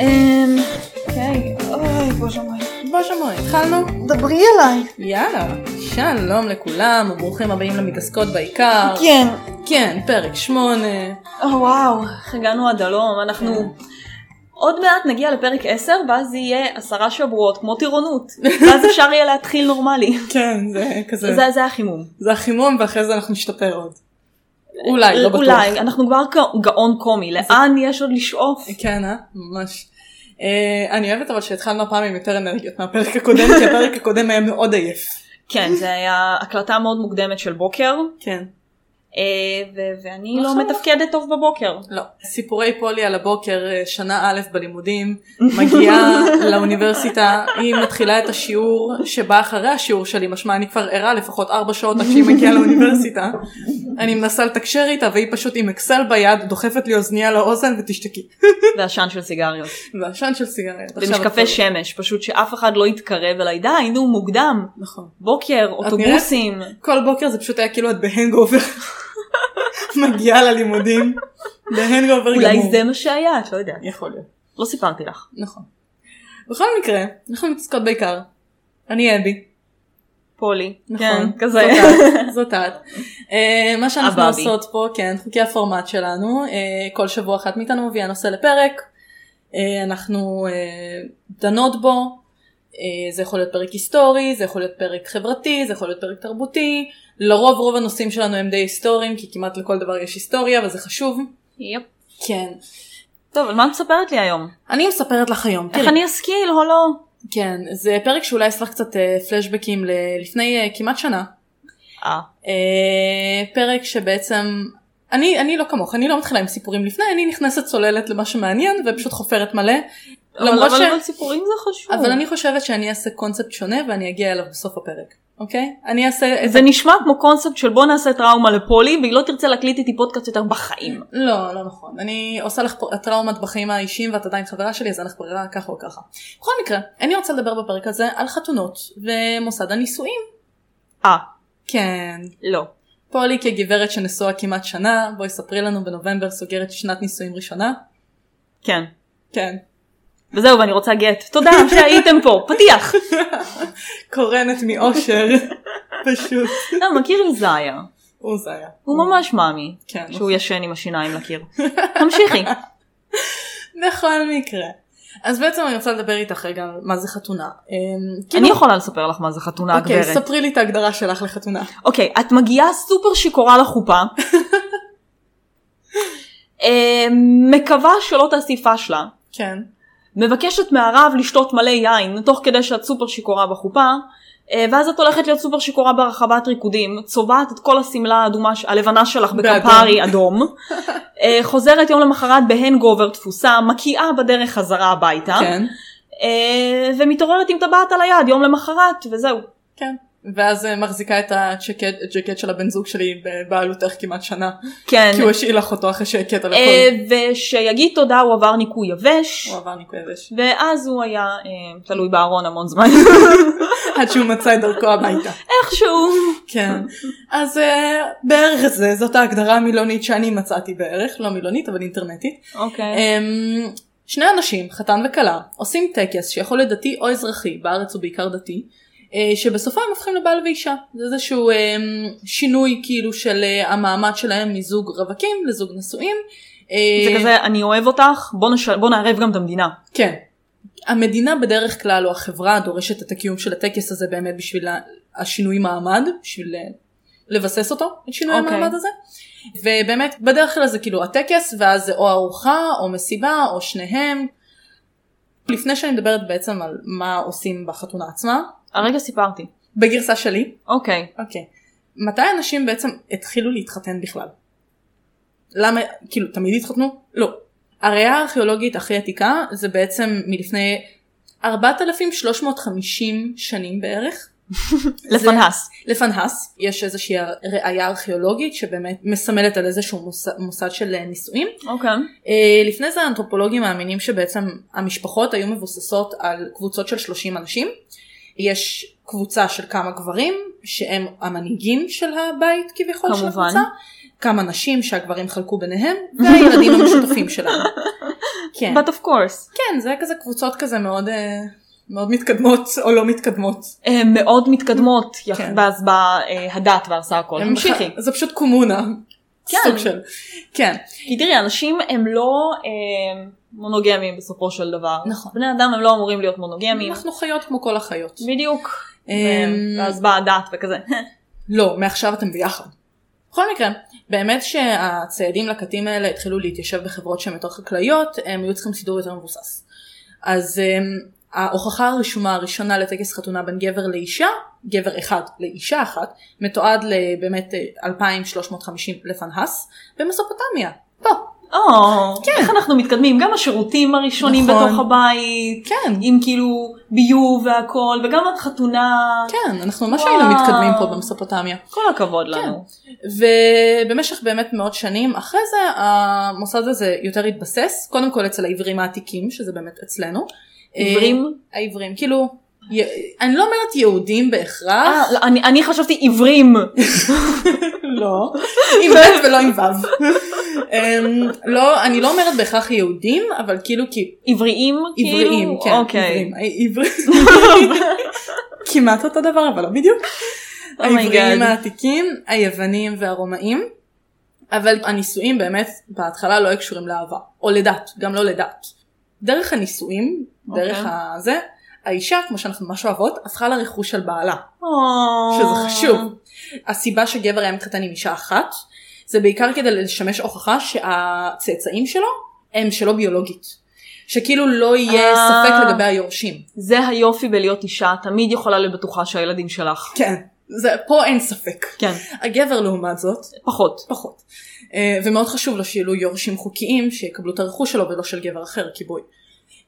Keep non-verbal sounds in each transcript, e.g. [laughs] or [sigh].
אמ, אוקיי. דברי אליי. יאללה, שלום לכולם, וברוכים הבאים למתעסקות בעיקר. כן. כן, פרק שמונה. אה, או, וואו, איך הגענו עד הלום, אנחנו עוד מעט נגיע לפרק 10 ואז יהיה עשרה שבועות כמו [laughs] טירונות, ואז אפשר יהיה להתחיל נורמלי. כן, [laughs] זה כזה. זה זה החימום. זה החימום, ואחרי זה אנחנו נשתפר עוד. אולי, לא בטוח. אולי, אנחנו כבר גא- גאון קומי, לאן יש עוד לשאוף? כן, אה? ממש. אה, אני אוהבת אבל שהתחלנו הפעם עם יותר אנרגיות מהפרק הקודם, כי הפרק הקודם היה מאוד עייף. כן, זה היה הקלטה מאוד מוקדמת של בוקר, כן. אה, ו- ואני לא עכשיו- מתפקדת טוב [laughs] בבוקר. לא. סיפורי פולי על הבוקר, אה, שנה א' בלימודים, [laughs] מגיעה לאוניברסיטה, היא מתחילה את השיעור שבא אחרי השיעור שלי, משמע אני כבר ערה לפחות ארבע שעות עד שהיא מגיעה [laughs] לאוניברסיטה. אני מנסה לתקשר איתה והיא פשוט עם אקסל ביד, דוחפת לי אוזנייה לאוזן ותשתקי. ועשן של סיגריות. ועשן של סיגריות. עכשיו במשקפי את- שמש, פשוט שאף אחד לא יתקרב אליי, די, נו, מוקדם. נכון. בוקר, אוטובוסים. כל בוקר זה פשוט היה כאילו את בהנגאובר. [laughs] מגיעה ללימודים. בהנגאובר גמור. אולי זה מה שהיה, את לא יודעת. יכול להיות. לא סיפרתי לך. נכון. בכל מקרה, אנחנו מתעסקות בעיקר. אני אבי. פולי. נכון. כן, כזה. זאת את, זאת את. [laughs] אה, מה שאנחנו הבאבי. עושות פה, כן, חוקי הפורמט שלנו, אה, כל שבוע אחת מאיתנו מביאה נושא לפרק, אה, אנחנו אה, דנות בו, אה, זה יכול להיות פרק היסטורי, זה יכול להיות פרק חברתי, זה יכול להיות פרק תרבותי, לרוב רוב הנושאים שלנו הם די היסטוריים, כי כמעט לכל דבר יש היסטוריה וזה חשוב. יפ. כן. טוב, על מה את מספרת לי היום? אני מספרת לך היום, איך אני אשכיל, לא? הולו? כן, זה פרק שאולי יש לך קצת אה, פלשבקים ל- לפני אה, כמעט שנה. אה, אה, פרק שבעצם אני אני לא כמוך אני לא מתחילה עם סיפורים לפני אני נכנסת צוללת למה שמעניין ופשוט חופרת מלא. למרות לא, אבל- ש... אבל סיפורים זה חשוב. אבל אני חושבת שאני אעשה קונספט שונה ואני אגיע אליו בסוף הפרק אוקיי אני אעשה את זה נשמע כמו קונספט של בוא נעשה טראומה לפולי והיא לא תרצה להקליט איתי פודקאסט יותר בחיים. לא לא נכון אני עושה לך פה- טראומת בחיים האישיים ואת עדיין חברה שלי אז אין לך ברירה ככה או ככה. בכל מקרה אני רוצה לדבר בפרק הזה על חתונות ומוסד הנישואים. אה, כן לא. פולי כגברת שנשואה כמעט שנה בואי ספרי לנו בנובמבר סוגרת שנת נישואים ראשונה. כן. כן. וזהו ואני רוצה גט. [laughs] תודה שהייתם פה. פתיח. קורנת מאושר, [laughs] פשוט. אתה אה, מכיר עם זיה. הוא זה היה. הוא ממש מאמי. כן. שהוא ישן עם השיניים [laughs] לקיר. תמשיכי. כאילו- בכל מקרה. אז בעצם אני רוצה לדבר איתך רגע על מה זה חתונה. אמ, כאילו- אני יכולה לספר לך מה זה חתונה אוקיי, הגברת. ספרי לי את ההגדרה שלך לחתונה. אוקיי, את מגיעה סופר שיכורה [laughs] לחופה. אה, מקווה שלא תעשי פשלה. כן. מבקשת מהרב לשתות מלא יין, תוך כדי שאת סופר שיכורה בחופה, אה, ואז את הולכת להיות סופר שיכורה ברחבת ריקודים, צובעת את כל השמלה האדומה, ש- הלבנה שלך בקפרי אדום, [laughs] אה, חוזרת יום למחרת בהנגובר תפוסה, מקיאה בדרך חזרה הביתה, כן. אה, ומתעוררת עם טבעת על היד יום למחרת, וזהו. כן. ואז אה, מחזיקה את הצ'קט הג'קט של הבן זוג שלי בבעלותך כמעט שנה. כן. כי הוא השאיל לך אותו אחרי שהכית על אה, הכל. ושיגיד תודה הוא עבר ניקוי יבש. הוא עבר ניקוי יבש. ואז הוא היה אה, תלוי בארון המון זמן, [laughs] עד שהוא מצא את דרכו הביתה. איכשהו. כן. אז אה, בערך זה, זאת ההגדרה המילונית שאני מצאתי בערך. לא מילונית אבל אינטרנטית. אוקיי. אמ, שני אנשים, חתן וכלה, עושים טקס שיכול להיות דתי או אזרחי, בארץ הוא בעיקר דתי, אה, שבסופו הם הופכים לבעל ואישה. זה איזשהו אמ, שינוי כאילו של אה, המעמד שלהם מזוג רווקים לזוג נשואים. אה, זה כזה, אני אוהב אותך, בוא, נש... בוא נערב גם את המדינה. כן. המדינה בדרך כלל או החברה דורשת את הקיום של הטקס הזה באמת בשביל ה- השינוי מעמד, בשביל אה, לבסס אותו, את שינוי okay. אוקיי. המעמד הזה. ובאמת בדרך כלל זה כאילו הטקס ואז זה או ארוחה או מסיבה או שניהם. לפני שאני מדברת בעצם על מה עושים בחתונה עצמה, הרגע סיפרתי. בגרסה שלי, אוקיי. אוקיי, מתי אנשים בעצם התחילו להתחתן בכלל? למה, כאילו, תמיד התחתנו? לא. הראייה הארכיאולוגית הכי עתיקה זה בעצם מלפני 4,350 שנים בערך. לפנהס. לפנהס יש איזושהי ראייה ארכיאולוגית שבאמת מסמלת על איזשהו מוסד, מוסד של אה, נישואים. אוקיי. אה, לפני זה האנתרופולוגים מאמינים שבעצם המשפחות היו מבוססות על קבוצות של 30 אנשים. יש קבוצה של כמה גברים שהם המנהיגים של הבית כביכול של כמובן. הקבוצה, כמה נשים שהגברים חלקו ביניהם והילדים [laughs] המשותפים שלהם. כן, But of course. כן, זה כזה קבוצות כזה מאוד אה, מאוד מתקדמות או לא מתקדמות. אה, מאוד מתקדמות, יח- כן. ואז באה אה, הדת והרסה הכל. הם- תמשיכי. זה פשוט קומונה. כן. סוג של. כן. כי תראי, אנשים הם לא אה, מונוגמים בסופו של דבר. נכון. בני אדם הם לא אמורים להיות מונוגמים. אנחנו חיות כמו כל החיות. בדיוק. אמ, ואז באה הדת וכזה. לא, מעכשיו אתם ביחד. בכל מקרה, באמת שהציידים לקטים האלה התחילו להתיישב בחברות שהן יותר חקלאיות, הם היו צריכים סידור יותר מבוסס. אז הם, ההוכחה הרשומה הראשונה לטקס חתונה בין גבר לאישה, גבר אחד לאישה אחת, מתועד לבאמת אה, 2350 לפנהס, במסופוטמיה. פה. או, איך אנחנו מתקדמים, גם השירותים הראשונים כן. נכון. בתוך הבית, כן. עם כאילו ביוב והכל, וגם החתונה, כן, אנחנו ממש וואו. היינו מתקדמים פה במסופוטמיה. כל הכבוד לנו. ובמשך באמת מאות שנים אחרי זה המוסד הזה יותר התבסס קודם כל אצל העברים העתיקים שזה באמת אצלנו. עברים? אה, העברים כאילו י... אני לא אומרת יהודים אה, בהכרח לא, אני- אני חשבתי עיוורים. [laughs] לא עם ב' ולא עם ו'. אמ, לא אני לא אומרת בהכרח יהודים אבל כאילו כי עבריים? עבריים כאילו? כן אוקיי. Oh עבריים, העברים. [laughs] [laughs] כמעט אותו דבר אבל לא בדיוק. [laughs] אומייגאד. העבריים העתיקים, היוונים והרומאים, אבל הנישואים באמת בהתחלה לא היו קשורים לאהבה, או לדת, גם לא לדת. דרך הנישואים, דרך אוקיי. הזה, האישה, כמו שאנחנו ממש אוהבות, הפכה לרכוש של בעלה, או. שזה חשוב. הסיבה שגבר היה מתחתן עם אישה אחת, זה בעיקר כדי לשמש הוכחה שהצאצאים שלו הם שלו ביולוגית. שכאילו לא אה. יהיה ספק לגבי היורשים. זה היופי בלהיות אישה, תמיד יכולה להיות בטוחה שהילדים שלך. כן. זה, פה אין ספק. כן, הגבר לעומת זאת, [laughs] פחות. פחות. אה, ומאוד חשוב לו שיהיו לו יורשים חוקיים שיקבלו את הרכוש שלו ולא של גבר אחר כיבוי.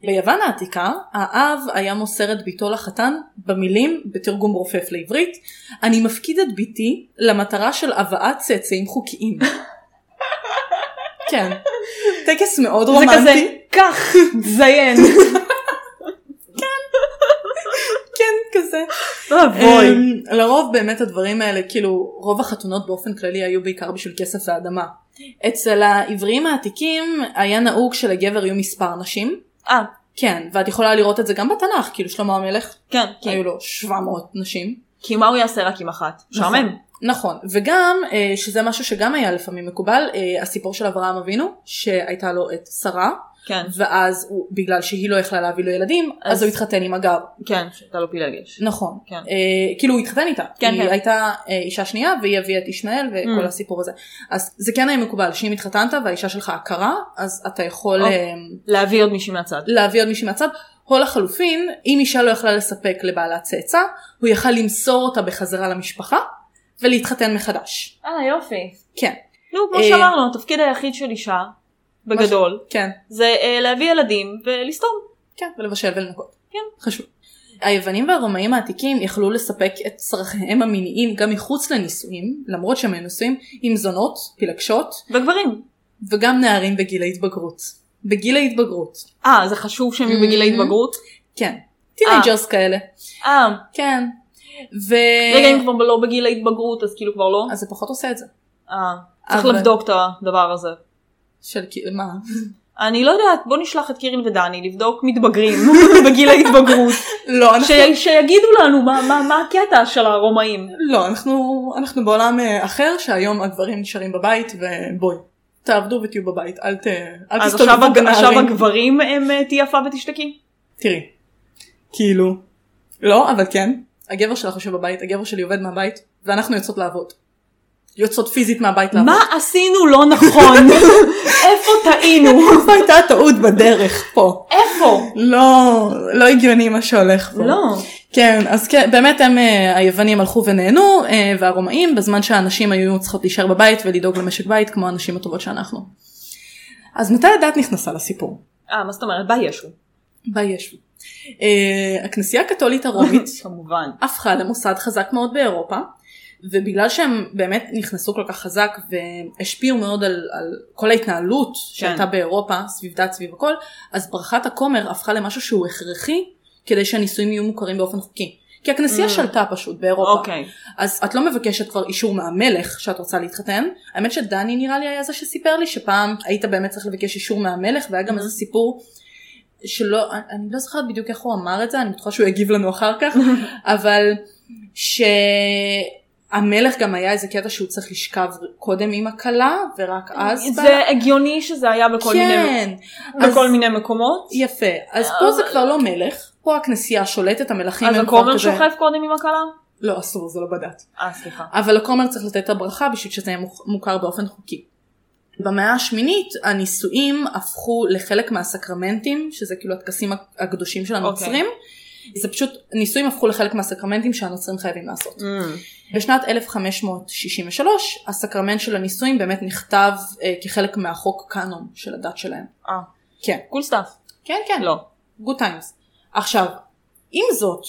ביוון העתיקה האב היה מוסר את ביתו לחתן במילים בתרגום רופף לעברית אני מפקיד את ביתי למטרה של הבאת צאצאים חוקיים. כן. טקס מאוד זה רומנטי. כזה, קח, [laughs] זיין. כן כזה. אבוי. אמ, לרוב באמת הדברים האלה כאילו רוב החתונות באופן כללי היו בעיקר בשביל כסף ואדמה. אצל העבריים העתיקים היה נהוג שלגבר היו מספר נשים. אה, כן ואת יכולה לראות את זה גם בתנ"ך כאילו שלמה המלך כן, כן. היו לו 700 נשים. כי מה הוא יעשה רק עם אחת? נכון. משעמם. נכון וגם אה, שזה משהו שגם היה לפעמים מקובל אה, הסיפור של אברהם אבינו שהייתה לו את שרה כן, ואז הוא בגלל שהיא לא יכלה להביא לו ילדים אז, אז- הוא התחתן עם הגר. כן, שהייתה לו פילגש. נכון. כן. אה, כאילו הוא התחתן איתה. כן, היא כן. הייתה אה, אישה שנייה והיא הביאה את ישמעאל וכל Mm. הסיפור הזה. אז זה כן היה מקובל שאם התחתנת והאישה שלך עקרה אז אתה יכול אוקיי. אה, להביא עוד מישהי מהצד. להביא עוד מישהי מהצד. או לחלופין אם אישה לא יכלה לספק לבעלה צאצא הוא יכל למסור אותה בחזרה למשפחה ולהתחתן מחדש. אה, יופי. כן. נו, כמו אה, שאמרנו, התפקיד היחיד של אישה, בגדול, כן. זה אה, להביא ילדים ולסתום. כן, ולבשל ולנקות. כן. חשוב. היוונים והרומאים העתיקים יכלו לספק את צרכיהם המיניים גם מחוץ לנישואים, למרות שהם היו נשואים, עם זונות, פילגשות, וגברים. וגם נערים בגיל ההתבגרות. בגיל ההתבגרות. אה, זה חשוב שהם יהיו בגיל Mhm. ההתבגרות? כן. טינג'רס כאלה. אה, כן. ו... רגע, אם כבר לא בגיל ההתבגרות, אז כאילו כבר לא? אה, אז זה פחות עושה את זה. אה, צריך אבל- לבדוק את הדבר הזה. של כאילו, מה? [laughs] אני לא יודעת, בוא נשלח את קירין ודני לבדוק מתבגרים [laughs] בגיל [laughs] ההתבגרות. לא, אנחנו... ש- שיגידו לנו מה- מה- מה הקטע של הרומאים. לא, אנחנו, אנחנו בעולם אה, אחר שהיום הגברים נשארים בבית ובואי. תעבדו ותהיו בבית, אל ת... אל אז עכשיו תסתובבו הג- עכשיו בנערים. הגברים הם אה, תהיה יפה ותשתקי? תראי, כאילו, לא, אבל כן, הגבר שלך יושב בבית, הגבר שלי עובד מהבית, ואנחנו יוצאות לעבוד. יוצאות פיזית מהבית לעבוד. מה עשינו לא נכון? [laughs] איפה טעינו? איפה הייתה הטעות בדרך פה? איפה? לא, לא הגיוני מה שהולך פה. לא. כן, אז כן, באמת הם, אה, היוונים הלכו ונהנו, אה, והרומאים, בזמן שהנשים היו צריכות להישאר בבית ולדאוג למשק בית כמו הנשים הטובות שאנחנו. אז מתי הדת נכנסה לסיפור? אה, מה זאת אומרת? בא ישו. בישו. אה, הכנסייה [laughs] הקתולית הרומית כמובן. הפכה למוסד חזק מאוד באירופה, ובגלל שהם באמת נכנסו כל כך חזק והשפיעו מאוד על, על כל ההתנהלות שהייתה כן. באירופה, סביב דת, סביב הכל, אז ברכת הכומר הפכה למשהו שהוא הכרחי כדי שהנישואים יהיו מוכרים באופן חוקי. כי הכנסייה Mm. שלטה פשוט באירופה. אוקיי. אז את לא מבקשת כבר אישור מהמלך שאת רוצה להתחתן. האמת Mm-hmm. שדני נראה לי היה זה שסיפר לי שפעם היית באמת צריך לבקש אישור מהמלך והיה גם איזה סיפור שלא, אני- אני לא זוכרת בדיוק איך הוא אמר את זה, אני בטוחה שהוא יגיב לנו אחר [laughs] כך, אבל שהמלך גם היה איזה קטע שהוא צריך לשכב קודם עם הכלה, ורק אז... זה בא- הגיוני שזה היה בכל מיני כן. אז- בכל מיני מקומות. יפה, אז פה זה כבר לא מלך, פה הכנסייה שולטת, המלכים אז הם כבר הכומר כזה... שוכב קודם עם הכלה? לא, אסור, זה לא בדת. אה סליחה. אבל הכומר צריך לתת את הברכה בשביל שזה יהיה מוכ- מוכר באופן חוקי. במאה השמינית הנישואים הפכו לחלק מהסקרמנטים, שזה כאילו הטקסים הקדושים של הנוצרים. זה פשוט, נישואים הפכו לחלק מהסקרמנטים שהנוצרים חייבים לעשות. Mm. בשנת 1563 הסקרמנט של הנישואים באמת נכתב אה, כחלק מהחוק קאנון של הדת שלהם. אה. כן. קול סטאפ. כן, כן. לא. גוד טיימס. עכשיו, עם זאת,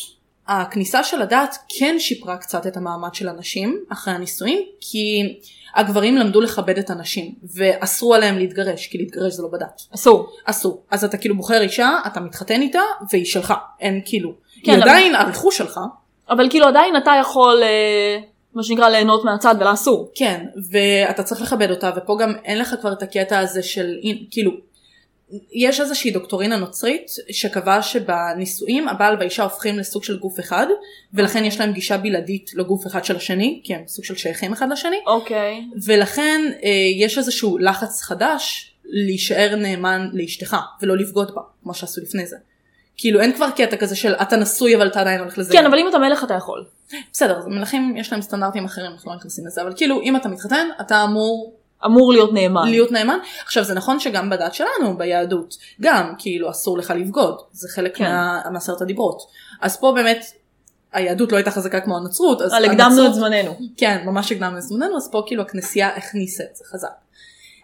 הכניסה של הדת כן שיפרה קצת את המעמד של הנשים אחרי הנישואים, כי הגברים למדו לכבד את הנשים, ואסרו עליהם להתגרש, כי להתגרש זה לא בדת. אסור. אסור. אז אתה כאילו בוחר אישה, אתה מתחתן איתה, והיא שלך. אין כאילו. כן, היא אבל- עדיין הרכוש שלך, אבל כאילו עדיין אתה יכול אה, מה שנקרא ליהנות מהצד ולה אסור. כן, ואתה צריך לכבד אותה, ופה גם אין לך כבר את הקטע הזה של, אין- כאילו, יש איזושהי דוקטרינה נוצרית שקבעה שבנישואים הבעל והאישה הופכים לסוג של גוף אחד, ולכן יש להם גישה בלעדית לגוף אחד של השני, כי הם סוג של שייכים אחד לשני, אוקיי. ולכן אה, יש איזשהו לחץ חדש להישאר נאמן לאשתך, ולא לבגוד בה, כמו שעשו לפני זה. כאילו אין כבר קטע כזה של אתה נשוי אבל אתה עדיין הולך לזה. כן אבל אם אתה מלך אתה יכול. בסדר, אז מלכים יש להם סטנדרטים אחרים, אנחנו לא נכנסים לזה, אבל כאילו אם אתה מתחתן אתה אמור אמור להיות נאמן. להיות נאמן. עכשיו זה נכון שגם בדת שלנו, ביהדות, גם כאילו אסור לך לבגוד, זה חלק כן. כן. מה- מעשרת הדיברות. אז פה באמת היהדות לא הייתה חזקה כמו הנצרות, אז אבל הקדמנו אה, את הנצרות- זמננו. כן, ממש הקדמנו את זמננו, אז פה כאילו הכנסייה הכניסה את זה חזק.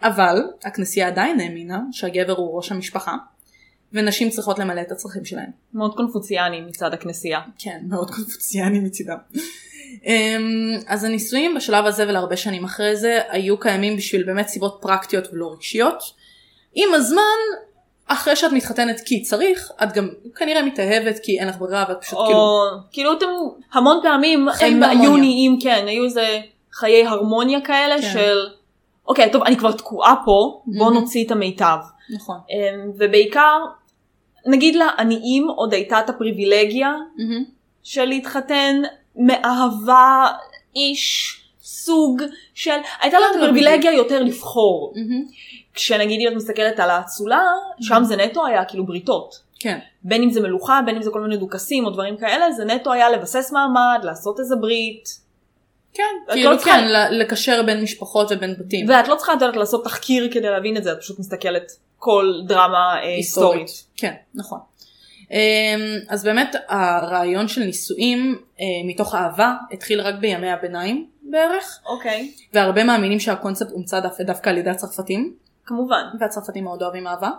אבל הכנסייה עדיין האמינה שהגבר הוא ראש המשפחה, ונשים צריכות למלא את הצרכים שלהם. מאוד קונפוציאני מצד הכנסייה. כן, מאוד קונפוציאני מצידם. אמ, אז הניסויים בשלב הזה ולהרבה שנים אחרי זה היו קיימים בשביל באמת סיבות פרקטיות ולא רגשיות. עם הזמן, אחרי שאת מתחתנת כי צריך, את גם כנראה מתאהבת כי אין לך ברירה ואת פשוט כאילו... או כאילו אתם המון פעמים חיים הם היו בהרמוניה. נהיים כן היו איזה חיי הרמוניה כאלה כן. של אוקיי טוב אני כבר תקועה פה בוא Mhm. נוציא את המיטב נכון. אמ, ובעיקר נגיד לעניים עוד הייתה את הפריבילגיה מהמם. של להתחתן מאהבה איש סוג של הייתה לה את לא הפריבילגיה יותר לבחור מהמם. כשנגיד אם את מסתכלת על האצולה שם זה נטו היה כאילו בריתות. כן. בין אם זה מלוכה, בין אם זה כל מיני דוכסים או דברים כאלה, זה נטו היה לבסס מעמד, לעשות איזה ברית. כן. את כאילו לא צריכה- כן, ל- לקשר בין משפחות ובין בתים. ואת לא צריכה לדעת לעשות תחקיר כדי להבין את זה, את פשוט מסתכלת כל דרמה אה, היסטורית. כן, נכון. אמ, אז באמת הרעיון של נישואים אה, מתוך אהבה התחיל רק בימי הביניים בערך. אוקיי. והרבה מאמינים שהקונספט הומצא דו- דווקא על ידי הצרפתים, כמובן. והצרפתים מאוד אוהבים אהבה.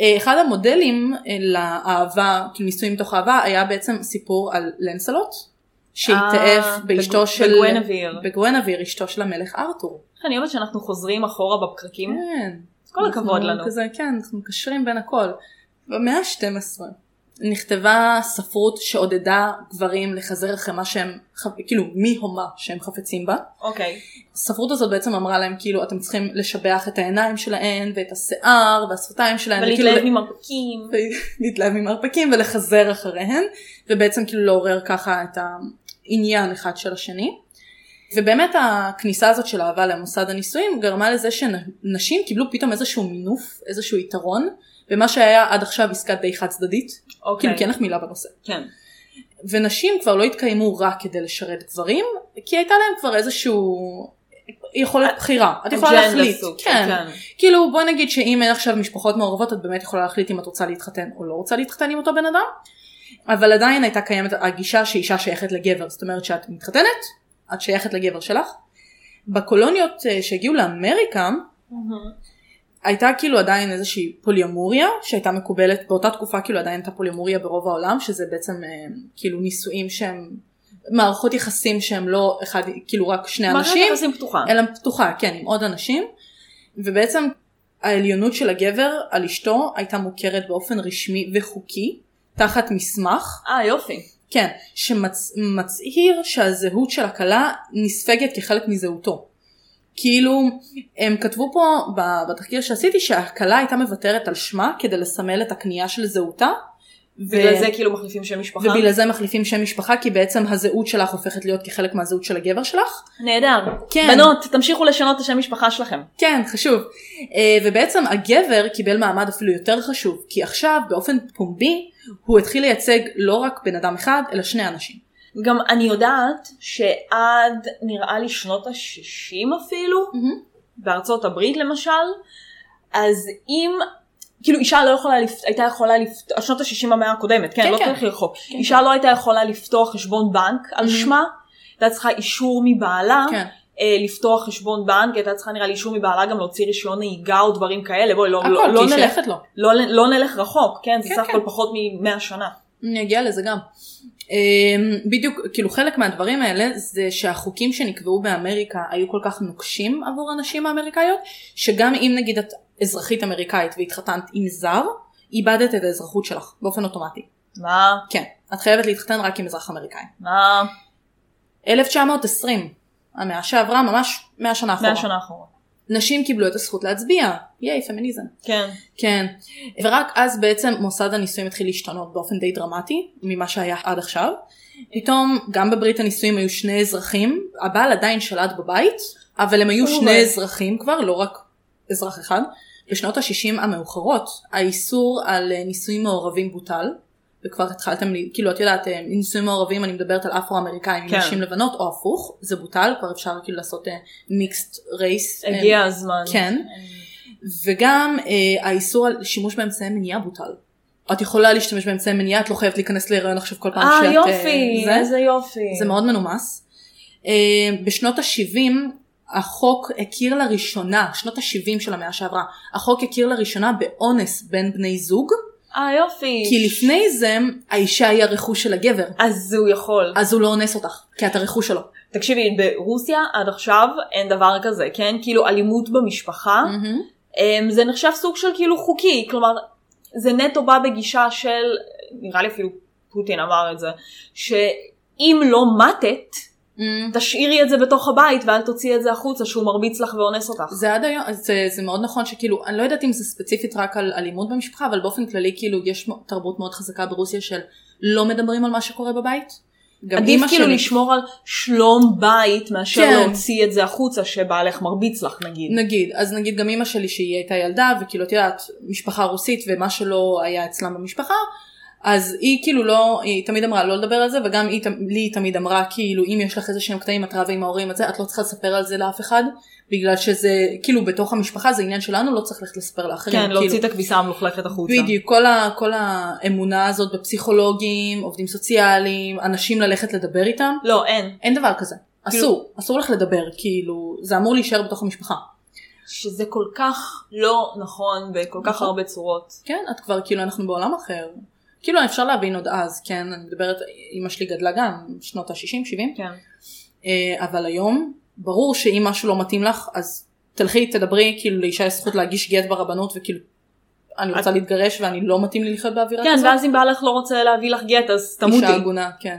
אה, אחד המודלים אה, לאהבה, כאילו נישואים מתוך אהבה, היה בעצם סיפור על לנסלוט, אה, שהתאהב באשתו בג- של... בגוונביר. בגואנביר, אשתו של המלך ארתור. אני אוהבת שאנחנו חוזרים אחורה בפקקים. כן. אז כל הכבוד אנחנו לנו. כזה, כן, אנחנו מקשרים בין הכל. במאה ה-12 נכתבה ספרות שעודדה גברים לחזר אחרי מה שהם, ח- כאילו, מי הומה שהם חפצים בה. אוקיי. אה, הספרות הזאת בעצם אמרה להם כאילו אתם צריכים לשבח את העיניים שלהן ואת השיער והשפתיים שלהן ולהתלהב כאילו, ממרפקים. [laughs] להתלהב ממרפקים ולחזר אחריהן ובעצם כאילו לעורר ככה את העניין אחד של השני. ובאמת הכניסה הזאת של אהבה למוסד הנישואים גרמה לזה שנשים קיבלו פתאום איזשהו מינוף איזשהו יתרון במה שהיה עד עכשיו עסקה די חד צדדית אוקיי. כאילו כי אין לך מילה בנושא. כן. ונשים כבר לא התקיימו רק כדי לשרת גברים, כי הייתה להם כבר איזשהו יכולת בחירה. את יכולה אג'נדה להחליט. סוג של, כן. כאילו בוא נגיד שאם אין עכשיו משפחות מעורבות את באמת יכולה להחליט אם את רוצה להתחתן או לא רוצה להתחתן עם אותו בן אדם. אבל עדיין הייתה קיימת הגישה שאישה שייכת לגבר, זאת אומרת שאת מתחתנת, את שייכת לגבר שלך. בקולוניות אה, שהגיעו לאמריקה מהמם. הייתה כאילו עדיין איזושהי פוליאמוריה שהייתה מקובלת באותה תקופה כאילו עדיין הייתה פוליאמוריה ברוב העולם שזה בעצם אה, כאילו נישואים שהם מערכות יחסים שהם לא אחד כאילו רק שני מערכת אנשים יחסים פתוחה. אלא פתוחה כן עם עוד אנשים ובעצם העליונות של הגבר על אשתו הייתה מוכרת באופן רשמי וחוקי תחת מסמך אה יופי. כן שמצהיר שהזהות של הכלה נספגת כחלק מזהותו כאילו, הם כתבו פה ב- בתחקיר שעשיתי שהכלה הייתה מוותרת על שמה כדי לסמל את הקנייה של זהותה. ו- בגלל זה כאילו מחליפים של משפחה. ובגלל זה מחליפים שם משפחה כי בעצם הזהות שלך הופכת להיות כחלק מהזהות של הגבר שלך. נהדר. כן. בנות, תמשיכו לשנות את השם משפחה שלכם. כן, חשוב. אה, ובעצם הגבר קיבל מעמד אפילו יותר חשוב, כי עכשיו באופן פומבי הוא התחיל לייצג לא רק בן אדם אחד, אלא שני אנשים. גם אני יודעת שעד נראה לי שנות ה-60 אפילו, בארצות הברית למשל, אז אם, כאילו אישה לא יכולה, לפ... הייתה יכולה לפתוח, שנות ה-60 במאה הקודמת, כן, כן, לא כן. צריך לרחוק, אישה לא הייתה יכולה לפתוח חשבון בנק על Mhm. שמה, הייתה צריכה אישור מבעלה. כן. אה, לפתוח חשבון בנק, הייתה צריכה נראה לי אישור מבעלה גם להוציא רישיון נהיגה או דברים כאלה, בואי לא, הכל, לא, לא, כי היא נלך, שייכת לו. לא, נ- לא נלך רחוק, כן, זה כן, סך כן. הכל פחות מ-100 שנה. אני אגיע לזה גם. אמ, בדיוק, כאילו חלק מהדברים האלה זה שהחוקים שנקבעו באמריקה היו כל כך נוקשים עבור הנשים האמריקאיות, שגם אם נגיד את אזרחית אמריקאית והתחתנת עם זר, איבדת את האזרחות שלך באופן אוטומטי. מה? כן, את חייבת להתחתן רק עם אזרח אמריקאי. מה? 1920, המאה שעברה ממש 100 שנה אחורה. 100 שנה אחורה. נשים קיבלו את הזכות להצביע, ייי פמיניזם. כן. כן, ורק אז בעצם מוסד הנישואים התחיל להשתנות באופן די דרמטי ממה שהיה עד עכשיו. פתאום גם בברית הנישואים היו שני אזרחים, הבעל עדיין שלט בבית, אבל הם היו אוי. שני אזרחים כבר, לא רק אזרח אחד. בשנות ה-60 המאוחרות, האיסור על אה, נישואים מעורבים בוטל, וכבר התחלתם, לי- כאילו את יודעת, אה, נישואים מעורבים, אני מדברת על אפרו-אמריקאים, כן. כן. נשים לבנות או הפוך, זה בוטל, כבר אפשר כאילו לעשות מיקסט רייס. הגיע הזמן. אה, כן. וגם אה, האיסור על שימוש באמצעי מניעה בוטל. את יכולה להשתמש באמצעי מניעה, את לא חייבת להיכנס להיריון עכשיו כל פעם אה שאת... יופי, זה, איזה יופי. זה מאוד מנומס. אה, בשנות ה-70 החוק הכיר לראשונה, שנות ה-70 של המאה שעברה, החוק הכיר לראשונה באונס בין בני זוג, אה יופי. כי לפני זה האישה היא הרכוש של הגבר, אז הוא יכול. אז הוא לא אונס אותך, כי את הרכוש שלו. תקשיבי, ברוסיה עד עכשיו אין דבר כזה, כן? כאילו אלימות במשפחה, מהמם. אמ, זה נחשב סוג של כאילו חוקי, כלומר זה נטו בא בגישה של, נראה לי אפילו פוטין אמר את זה, שאם לא מתת, מהמם. תשאירי את זה בתוך הבית ואל תוציאי את זה החוצה שהוא מרביץ לך ואונס אותך. זה עד היום, זה, זה מאוד נכון שכאילו, אני לא יודעת אם זה ספציפית רק על אלימות במשפחה, אבל באופן כללי כאילו יש מ- תרבות מאוד חזקה ברוסיה של לא מדברים על מה שקורה בבית. גם עדיף אמא כאילו שלי- לשמור על שלום בית מאשר כן. נכון, להוציא את זה החוצה שבעלך מרביץ לך נגיד. נגיד, אז נגיד גם אימא שלי שהיא הייתה ילדה, וכאילו את יודעת, משפחה רוסית ומה שלא היה אצלם במשפחה, אז היא כאילו לא, היא תמיד אמרה לא לדבר על זה, וגם היא, תמ- לי היא תמיד אמרה כאילו אם יש לך איזה שהם קטעים את רבה עם ההורים את זה, את לא צריכה לספר על זה לאף אחד, בגלל שזה כאילו בתוך המשפחה זה עניין שלנו, לא צריך ללכת לספר לאחרים. כן, כאילו, להוציא את הכביסה המלוכלכת החוצה. בדיוק, כל, ה, כל האמונה הזאת בפסיכולוגים, עובדים סוציאליים, אנשים ללכת לדבר איתם, לא, אין. אין דבר כזה. כאילו- אסור, אסור לך לדבר, כאילו, זה אמור להישאר בתוך המשפחה. שזה כל כך לא נכון בכל כך נכון. הרבה צורות. כן, את כבר, כאילו, אנחנו בעולם אחר. כאילו, אפשר להבין עוד אז, כן, אני מדברת, אימא שלי גדלה גם, שנות ה-60-70, כן. אבל היום, ברור שאם משהו לא מתאים לך, אז תלכי, תדברי, כאילו, לאישה יש זכות להגיש גט ברבנות, וכאילו, אני רוצה להתגרש ואני לא מתאים לי לחיות באווירה כן, כזאת. ואז אם בעלך לא רוצה להביא לך גט אז אישה תמותי. עגונה, כן.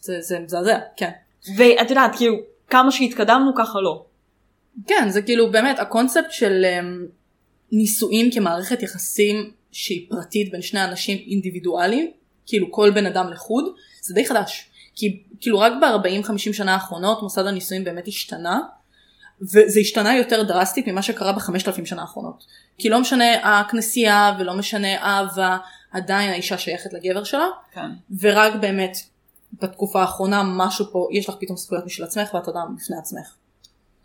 זה זה מזעזע, כן. ואת יודעת, כאילו, כמה שהתקדמנו ככה לא. כן, זה כאילו באמת הקונספט של אמ, נישואים כמערכת יחסים שהיא פרטית בין שני אנשים אינדיבידואליים, כאילו כל בן אדם לחוד, זה די חדש. כי כאילו רק ב-40-50 שנה האחרונות מוסד הנישואים באמת השתנה, וזה השתנה יותר דרסטית ממה שקרה ב-5,000 שנה האחרונות. כי לא משנה הכנסייה ולא משנה האהבה, עדיין האישה שייכת לגבר שלה, כן. ורק באמת בתקופה האחרונה משהו פה, יש לך פתאום זכויות משל עצמך ואת אדם בפני עצמך.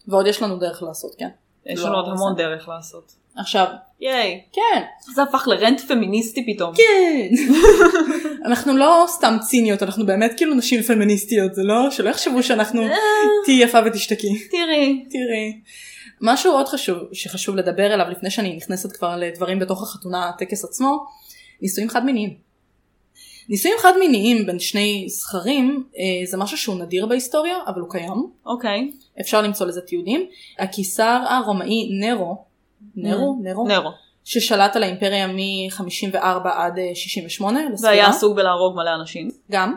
ועוד יש לנו דרך לעשות, כן? יש לא, לנו עוד זה- המון דרך לעשות. עכשיו, ייי. כן, זה הפך לרנט פמיניסטי פתאום. כן. אנחנו לא סתם ציניות, אנחנו באמת כאילו נשים פמיניסטיות, זה לא, שלא יחשבו שאנחנו תהיי יפה ותשתקי. תראי. תראי. משהו עוד חשוב, שחשוב לדבר עליו לפני שאני נכנסת כבר לדברים בתוך החתונה, הטקס עצמו, נישואים חד מיניים. נישואים חד מיניים בין שני זכרים אה, זה משהו שהוא נדיר בהיסטוריה, אבל הוא קיים. אוקיי. אפשר למצוא לזה תיעודים. הקיסר הרומאי נרו, נרו, נרו, נרו. ששלט על האימפריה מ-54 עד אה, 68 זה היה לספירה, עסוק בלהרוג מלא אנשים. גם.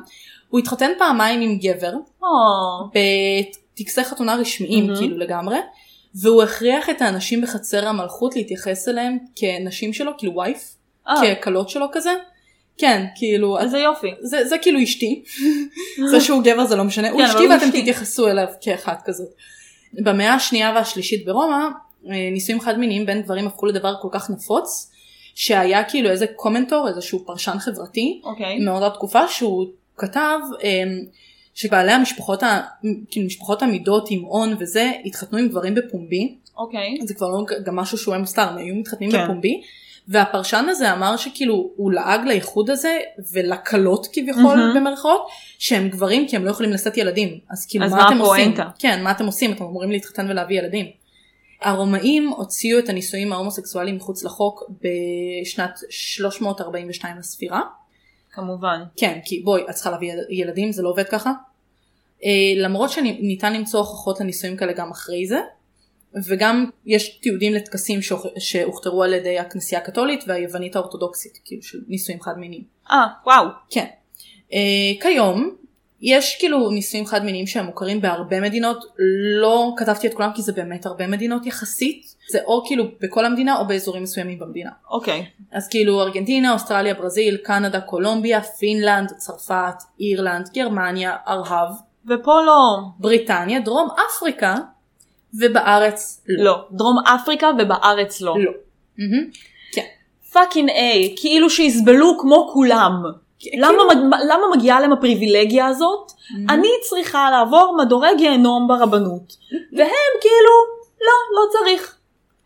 הוא התחתן פעמיים עם גבר, או, בטקסי חתונה רשמיים Mhm. כאילו לגמרי, והוא הכריח את האנשים בחצר המלכות להתייחס אליהם כנשים שלו, כאילו וייף, אה, ככלות שלו כזה. כן, כאילו, אז איזה יופי. זה, זה כאילו אשתי, זה שהוא גבר זה לא משנה, הוא כן, אבל אשתי הוא ואתם אשתי. תתייחסו אליו כאחת כזאת. במאה השנייה והשלישית ברומא, אה, נישואים חד מיניים בין גברים הפכו לדבר כל כך נפוץ, שהיה כאילו איזה קומנטור, איזשהו פרשן חברתי, אוקיי. מאותה תקופה שהוא כתב אמ, שבעלי המשפחות, ה- כאילו משפחות עמידות עם הון וזה, התחתנו עם גברים בפומבי, אוקיי. זה כבר לא גם משהו שהוא היה מוסתר, הם היו מתחתנים כן. בפומבי, והפרשן הזה אמר שכאילו הוא לעג לאיחוד הזה ולקלות כביכול מהמם. במרכאות, שהם גברים כי הם לא יכולים לשאת ילדים, אז כאילו אז מה, מה אתם עושים? הפואנטה? כן, מה אתם עושים? אתם אמורים להתחתן ולהביא ילדים. הרומאים הוציאו את הנישואים ההומוסקסואליים מחוץ לחוק בשנת 342 לספירה. כמובן. כן, כי בואי, את צריכה להביא יל- ילדים, זה לא עובד ככה. אה, למרות שניתן למצוא הוכחות לניסויים כאלה גם אחרי זה, וגם יש תיעודים לטקסים שהוכ- שהוכתרו על ידי הכנסייה הקתולית והיוונית האורתודוקסית, כאילו של ניסויים חד מיניים. אה, וואו. כן. אה, כיום, יש כאילו ניסויים חד מיניים שהם מוכרים בהרבה מדינות, לא כתבתי את כולם כי זה באמת הרבה מדינות יחסית, זה או כאילו בכל המדינה או באזורים מסוימים במדינה. אוקיי. אז כאילו ארגנטינה, אוסטרליה, ברזיל, קנדה, קולומביה, פינלנד, צרפת, אירלנד, גרמניה, ארהב, ופה לא. בריטניה, דרום אפריקה, ובארץ לא. לא. דרום אפריקה ובארץ לא. לא. כן. מהמם. פאקינג איי. כאילו שיסבלו כמו כולם. אה, כאילו- למה מג- למה מגיעה להם הפריבילגיה הזאת? אני צריכה לעבור מדורי גיהנום ברבנות. והם כאילו, לא, לא צריך.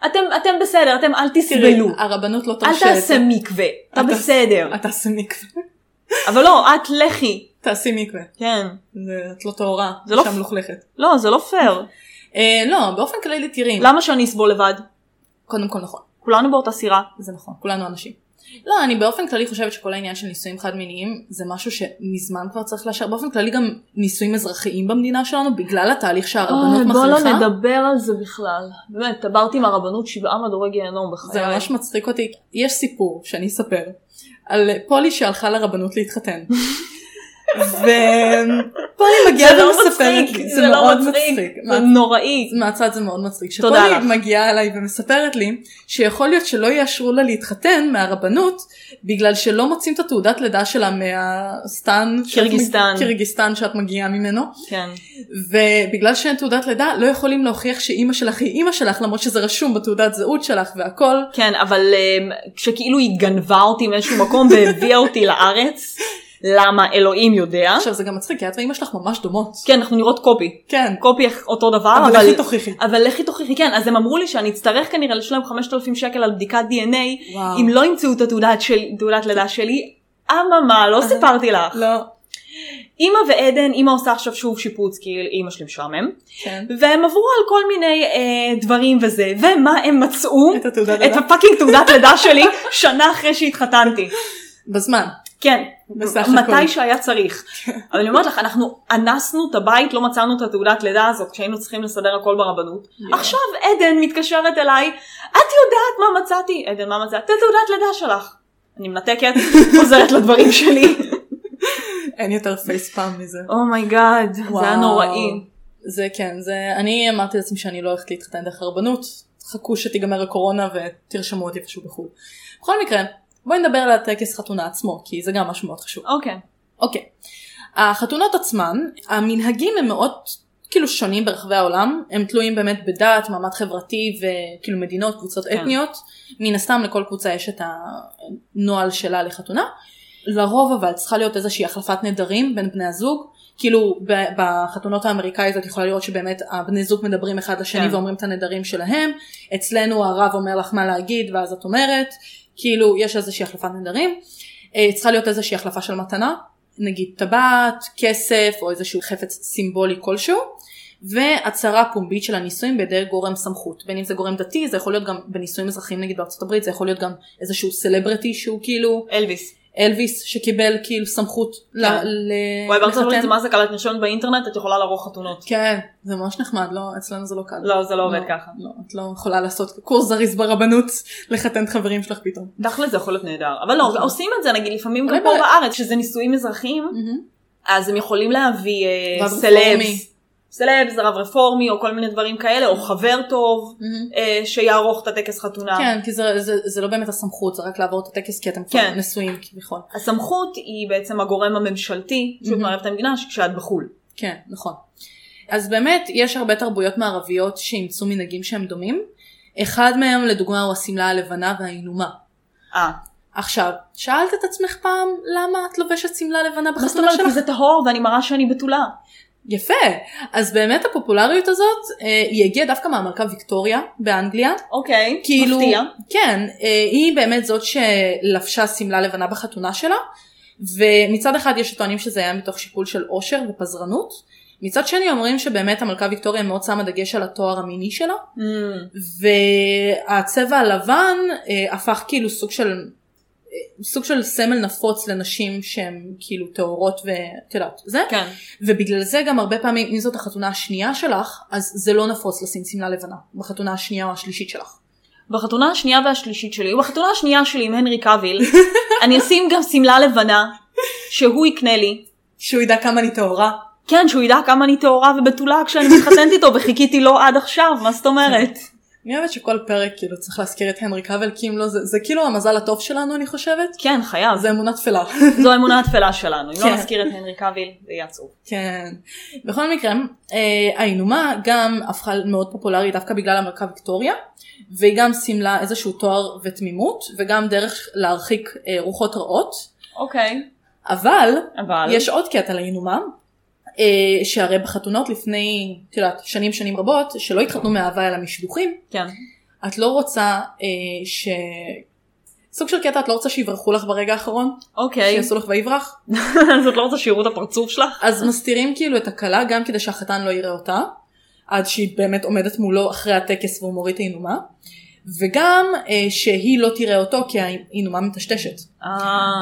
אתם, אתם בסדר, אתם אל תראי, תסבלו. הרבנות לא כאילו- אל תרשה את תעשה זה. מקווה, אתה אל תעשה- בסדר. אל תעשה מקווה. אבל לא, את לכי. תעשי מקווה. כן. זה- את לא טהורה, זה לא- שם מלוכלכת. לא, זה לא פייר. אה, לא, באופן כללי תראי. למה שאני אסבול לבד? קודם כל נכון. כולנו באותה סירה. זה נכון, כולנו אנשים. לא, אני באופן כללי חושבת שכל העניין של נישואים חד מיניים זה משהו שמזמן כבר צריך לאשר. באופן כללי גם נישואים אזרחיים במדינה שלנו בגלל התהליך שהרבנות אוי, מכריחה. בוא לא נדבר על זה בכלל. באמת, טברתי עם הרבנות שבעה מדורי גיהנום בחיי. זה ממש מצחיק אותי. יש סיפור שאני אספר על פולי שהלכה [laughs] לרבנות להתחתן. ופולי מגיעה זה לא ומספרת מצחיק, לי, זה לא מאוד מצחיק. מצחיק. זה נוראי. מהצד זה מאוד מצחיק. תודה שפולי לך. מגיעה אליי ומספרת לי שיכול להיות שלא יאשרו לה להתחתן מהרבנות בגלל שלא מוצאים את התעודת לידה שלה מהסטן. שאת קירגיסטן. מג- קירגיסטן שאת מגיעה ממנו. כן. ובגלל שאין תעודת לידה לא יכולים להוכיח שאימא שלך היא אימא שלך למרות שזה רשום בתעודת זהות שלך והכל. כן, אבל אמ, כשכאילו היא גנבה אותי מאיזשהו מקום והביאה אותי לארץ, למה אלוהים יודע. עכשיו זה גם מצחיק כי את ואימא שלך ממש דומות. כן, אנחנו נראות קופי. כן. קופי אותו דבר, אבל אה, אבל... לכי תוכיחי. אבל לכי תוכיחי, כן, אז הם אמרו לי שאני אצטרך כנראה לשלם 5,000 שקל על בדיקת DNA, וואו. אם לא ימצאו את התעודת של- תעודת לידה שלי, אממה, לא סיפרתי לך. לא. אימא ועדן, אימא עושה עכשיו שוב שיפוץ כי אימא שלי משעמם, כן. והם עברו על כל מיני אה, דברים וזה, ומה הם מצאו? את התעודת לא. את לידה. הפאקינג תעודת לידה שלי, שנה אחרי שהתחתנתי. בזמן. כן, בסך מתי הכל. שהיה צריך. אבל אני אומרת לך, אנחנו אנסנו את הבית, לא מצאנו את התעודת לידה הזאת כשהיינו צריכים לסדר הכל ברבנות. עכשיו עדן מתקשרת אליי, את יודעת מה מצאתי? עדן, מה מצאת? את התעודת לידה שלך. אני מנתקת, [laughs] חוזרת לדברים שלי. אין יותר פייס פעם מזה. אומייגאד, זה היה וואו. נוראי. זה כן, זה... אני אמרתי לעצמי שאני לא הולכת להתחתן דרך הרבנות, חכו שתיגמר הקורונה ותרשמו אותי איפשהו בחו"ל. בכל מקרה, בואי נדבר על הטקס חתונה עצמו, כי זה גם משהו מאוד חשוב. אוקיי. אוקיי, החתונות עצמן, המנהגים הם מאוד כאילו שונים ברחבי העולם, הם תלויים באמת בדת, מעמד חברתי וכאילו מדינות, קבוצות כן. אתניות, מן הסתם לכל קבוצה יש את הנוהל שלה לחתונה. לרוב אבל צריכה להיות איזושהי החלפת נדרים בין בני הזוג, כאילו ב- בחתונות האמריקאיות את יכולה לראות שבאמת הבני זוג מדברים אחד לשני כן. ואומרים את הנדרים שלהם, אצלנו הרב אומר לך מה להגיד ואז את אומרת, כאילו יש איזושהי החלפת נדרים, אה, צריכה להיות איזושהי החלפה של מתנה, נגיד טבעת, כסף או איזשהו חפץ סימבולי כלשהו, והצהרה פומבית של הנישואים בידי גורם סמכות, בין אם זה גורם דתי, זה יכול להיות גם בנישואים אזרחיים נגיד בארצות הברית, זה יכול להיות גם איזשהו סלברטי שהוא כאילו אלוויס. אלוויס שקיבל כאילו סמכות ל... כן. ל... וואי, בארצות הברית זה לחתן. מה זה קל, את נרשמת באינטרנט, את יכולה לערוך חתונות. כן, זה ממש נחמד, לא, אצלנו זה לא קל. לא, זה לא עובד ככה. לא, את לא יכולה לעשות קורס זריז ברבנות, לחתן את חברים שלך פתאום. דחלה זה יכול להיות נהדר. אבל לא, נכון. לא- עושים את זה נגיד לפעמים גם אולי פה ב- Mm-hmm, בארץ, שזה נישואים אזרחיים, אז הם יכולים להביא אה, רב רפורמי. סלבס. סלבס, רב רפורמי או כל מיני דברים כאלה, או חבר טוב מהמם. אה, שיערוך את הטקס חתונה. כן, כי זה- זה זה לא באמת הסמכות, זה רק לעבור את הטקס כי אתם כבר כן. נשואים כביכול. הסמכות היא בעצם הגורם הממשלתי, שוב Mhm. מערב את המדינה, כשאת בחו"ל. כן, נכון. אז באמת, יש הרבה תרבויות מערביות שאימצו מנהגים שהם דומים. אחד מהם, לדוגמה, הוא השמלה הלבנה והאינומה. אה, עכשיו, שאלת את עצמך פעם, למה את לובשת שמלה לבנה מה זאת בחתונה אומרת? כי שלך? זה טהור ואני מראה שאני בתולה. יפה. אז באמת הפופולריות הזאת, אה, היא הגיעה דווקא מהמלכה ויקטוריה באנגליה. אוקיי, כאילו, מפתיע. כן, אה, היא באמת זאת שלבשה שמלה לבנה בחתונה שלה, ומצד אחד יש שטוענים שזה היה מתוך שיקול של עושר ופזרנות, מצד שני אומרים שבאמת המלכה ויקטוריה מאוד שמה דגש על התואר המיני שלה, Mm, והצבע הלבן אה, הפך כאילו סוג של, אה, סוג של סמל נפוץ לנשים שהן כאילו טהורות ואת יודעת, זה, כן. ובגלל זה גם הרבה פעמים, אם זאת החתונה השנייה שלך, אז זה לא נפוץ לשים שמלה לבנה, בחתונה השנייה או השלישית שלך. בחתונה השנייה והשלישית שלי, ובחתונה השנייה שלי עם הנרי קאביל, [laughs] אני אשים גם שמלה לבנה, שהוא יקנה לי. שהוא ידע כמה אני טהורה. כן, שהוא ידע כמה אני טהורה ובתולה כשאני מתחתנת איתו, וחיכיתי לו עד עכשיו, מה זאת [laughs] אומרת? אני אוהבת שכל פרק כאילו צריך להזכיר את הנרי קאבל כי אם לא זה, זה כאילו המזל הטוב שלנו אני חושבת. כן, חייב. זה אמונה תפלה. [laughs] זו האמונה הטפלה שלנו. אם כן. לא נזכיר את הנרי קאביל, זה יהיה עצוב. כן. בכל מקרה, אה, האינומה גם הפכה מאוד פופולרית דווקא בגלל המלכה ויקטוריה, והיא גם סימלה איזשהו תואר ותמימות, וגם דרך להרחיק אה, רוחות רעות, אוקיי. אבל אבל... יש עוד קטע לאינומה, אה, שהרי בחתונות לפני, את יודעת, שנים שנים רבות, שלא התחתנו מאהבה אלא משידוכים, כן. את לא רוצה אה, ש... סוג של קטע את לא רוצה שיברחו לך ברגע האחרון, אוקיי. [laughs] שיעשו לך ויברח, אז את לא רוצה שיראו את הפרצוף שלך? אז מסתירים כאילו את הכלה גם כדי שהחתן לא יראה אותה, עד שהיא באמת עומדת מולו אחרי הטקס והוא מוריד את האינומה, וגם אה, שהיא לא תראה אותו כי האינומה מטשטשת. אה.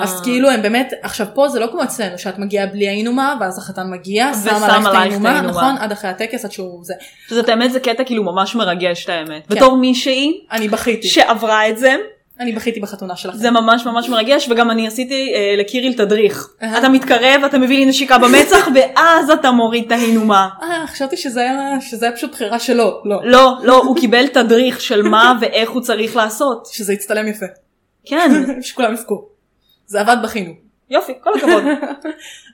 אז כאילו הם באמת, עכשיו פה זה לא כמו אצלנו שאת מגיעה בלי האינומה ואז החתן מגיע, שם ושם עלייך את עלייך את האינומה, האינומה. נכון? עד אחרי הטקס עד שהוא זה. זאת האמת, זה קטע כאילו ממש מרגש, את האמת. כן. בתור מישהי אני בכיתי, שעברה את זה, אני בכיתי בחתונה שלכם. זה ממש ממש מרגש, וגם אני עשיתי אה, לקיריל תדריך. אהה. אתה מתקרב, אתה מביא לי נשיקה במצח, [laughs] ואז אתה מוריד את ההינומה. אה, חשבתי שזה היה, שזה היה פשוט בחירה שלו, לא. לא, לא, הוא קיבל תדריך של מה [laughs] ואיך הוא צריך לעשות. שזה יצטלם יפה, [laughs] כן, שכולם יבכו. זה עבד בכינו. יופי, כל הכבוד.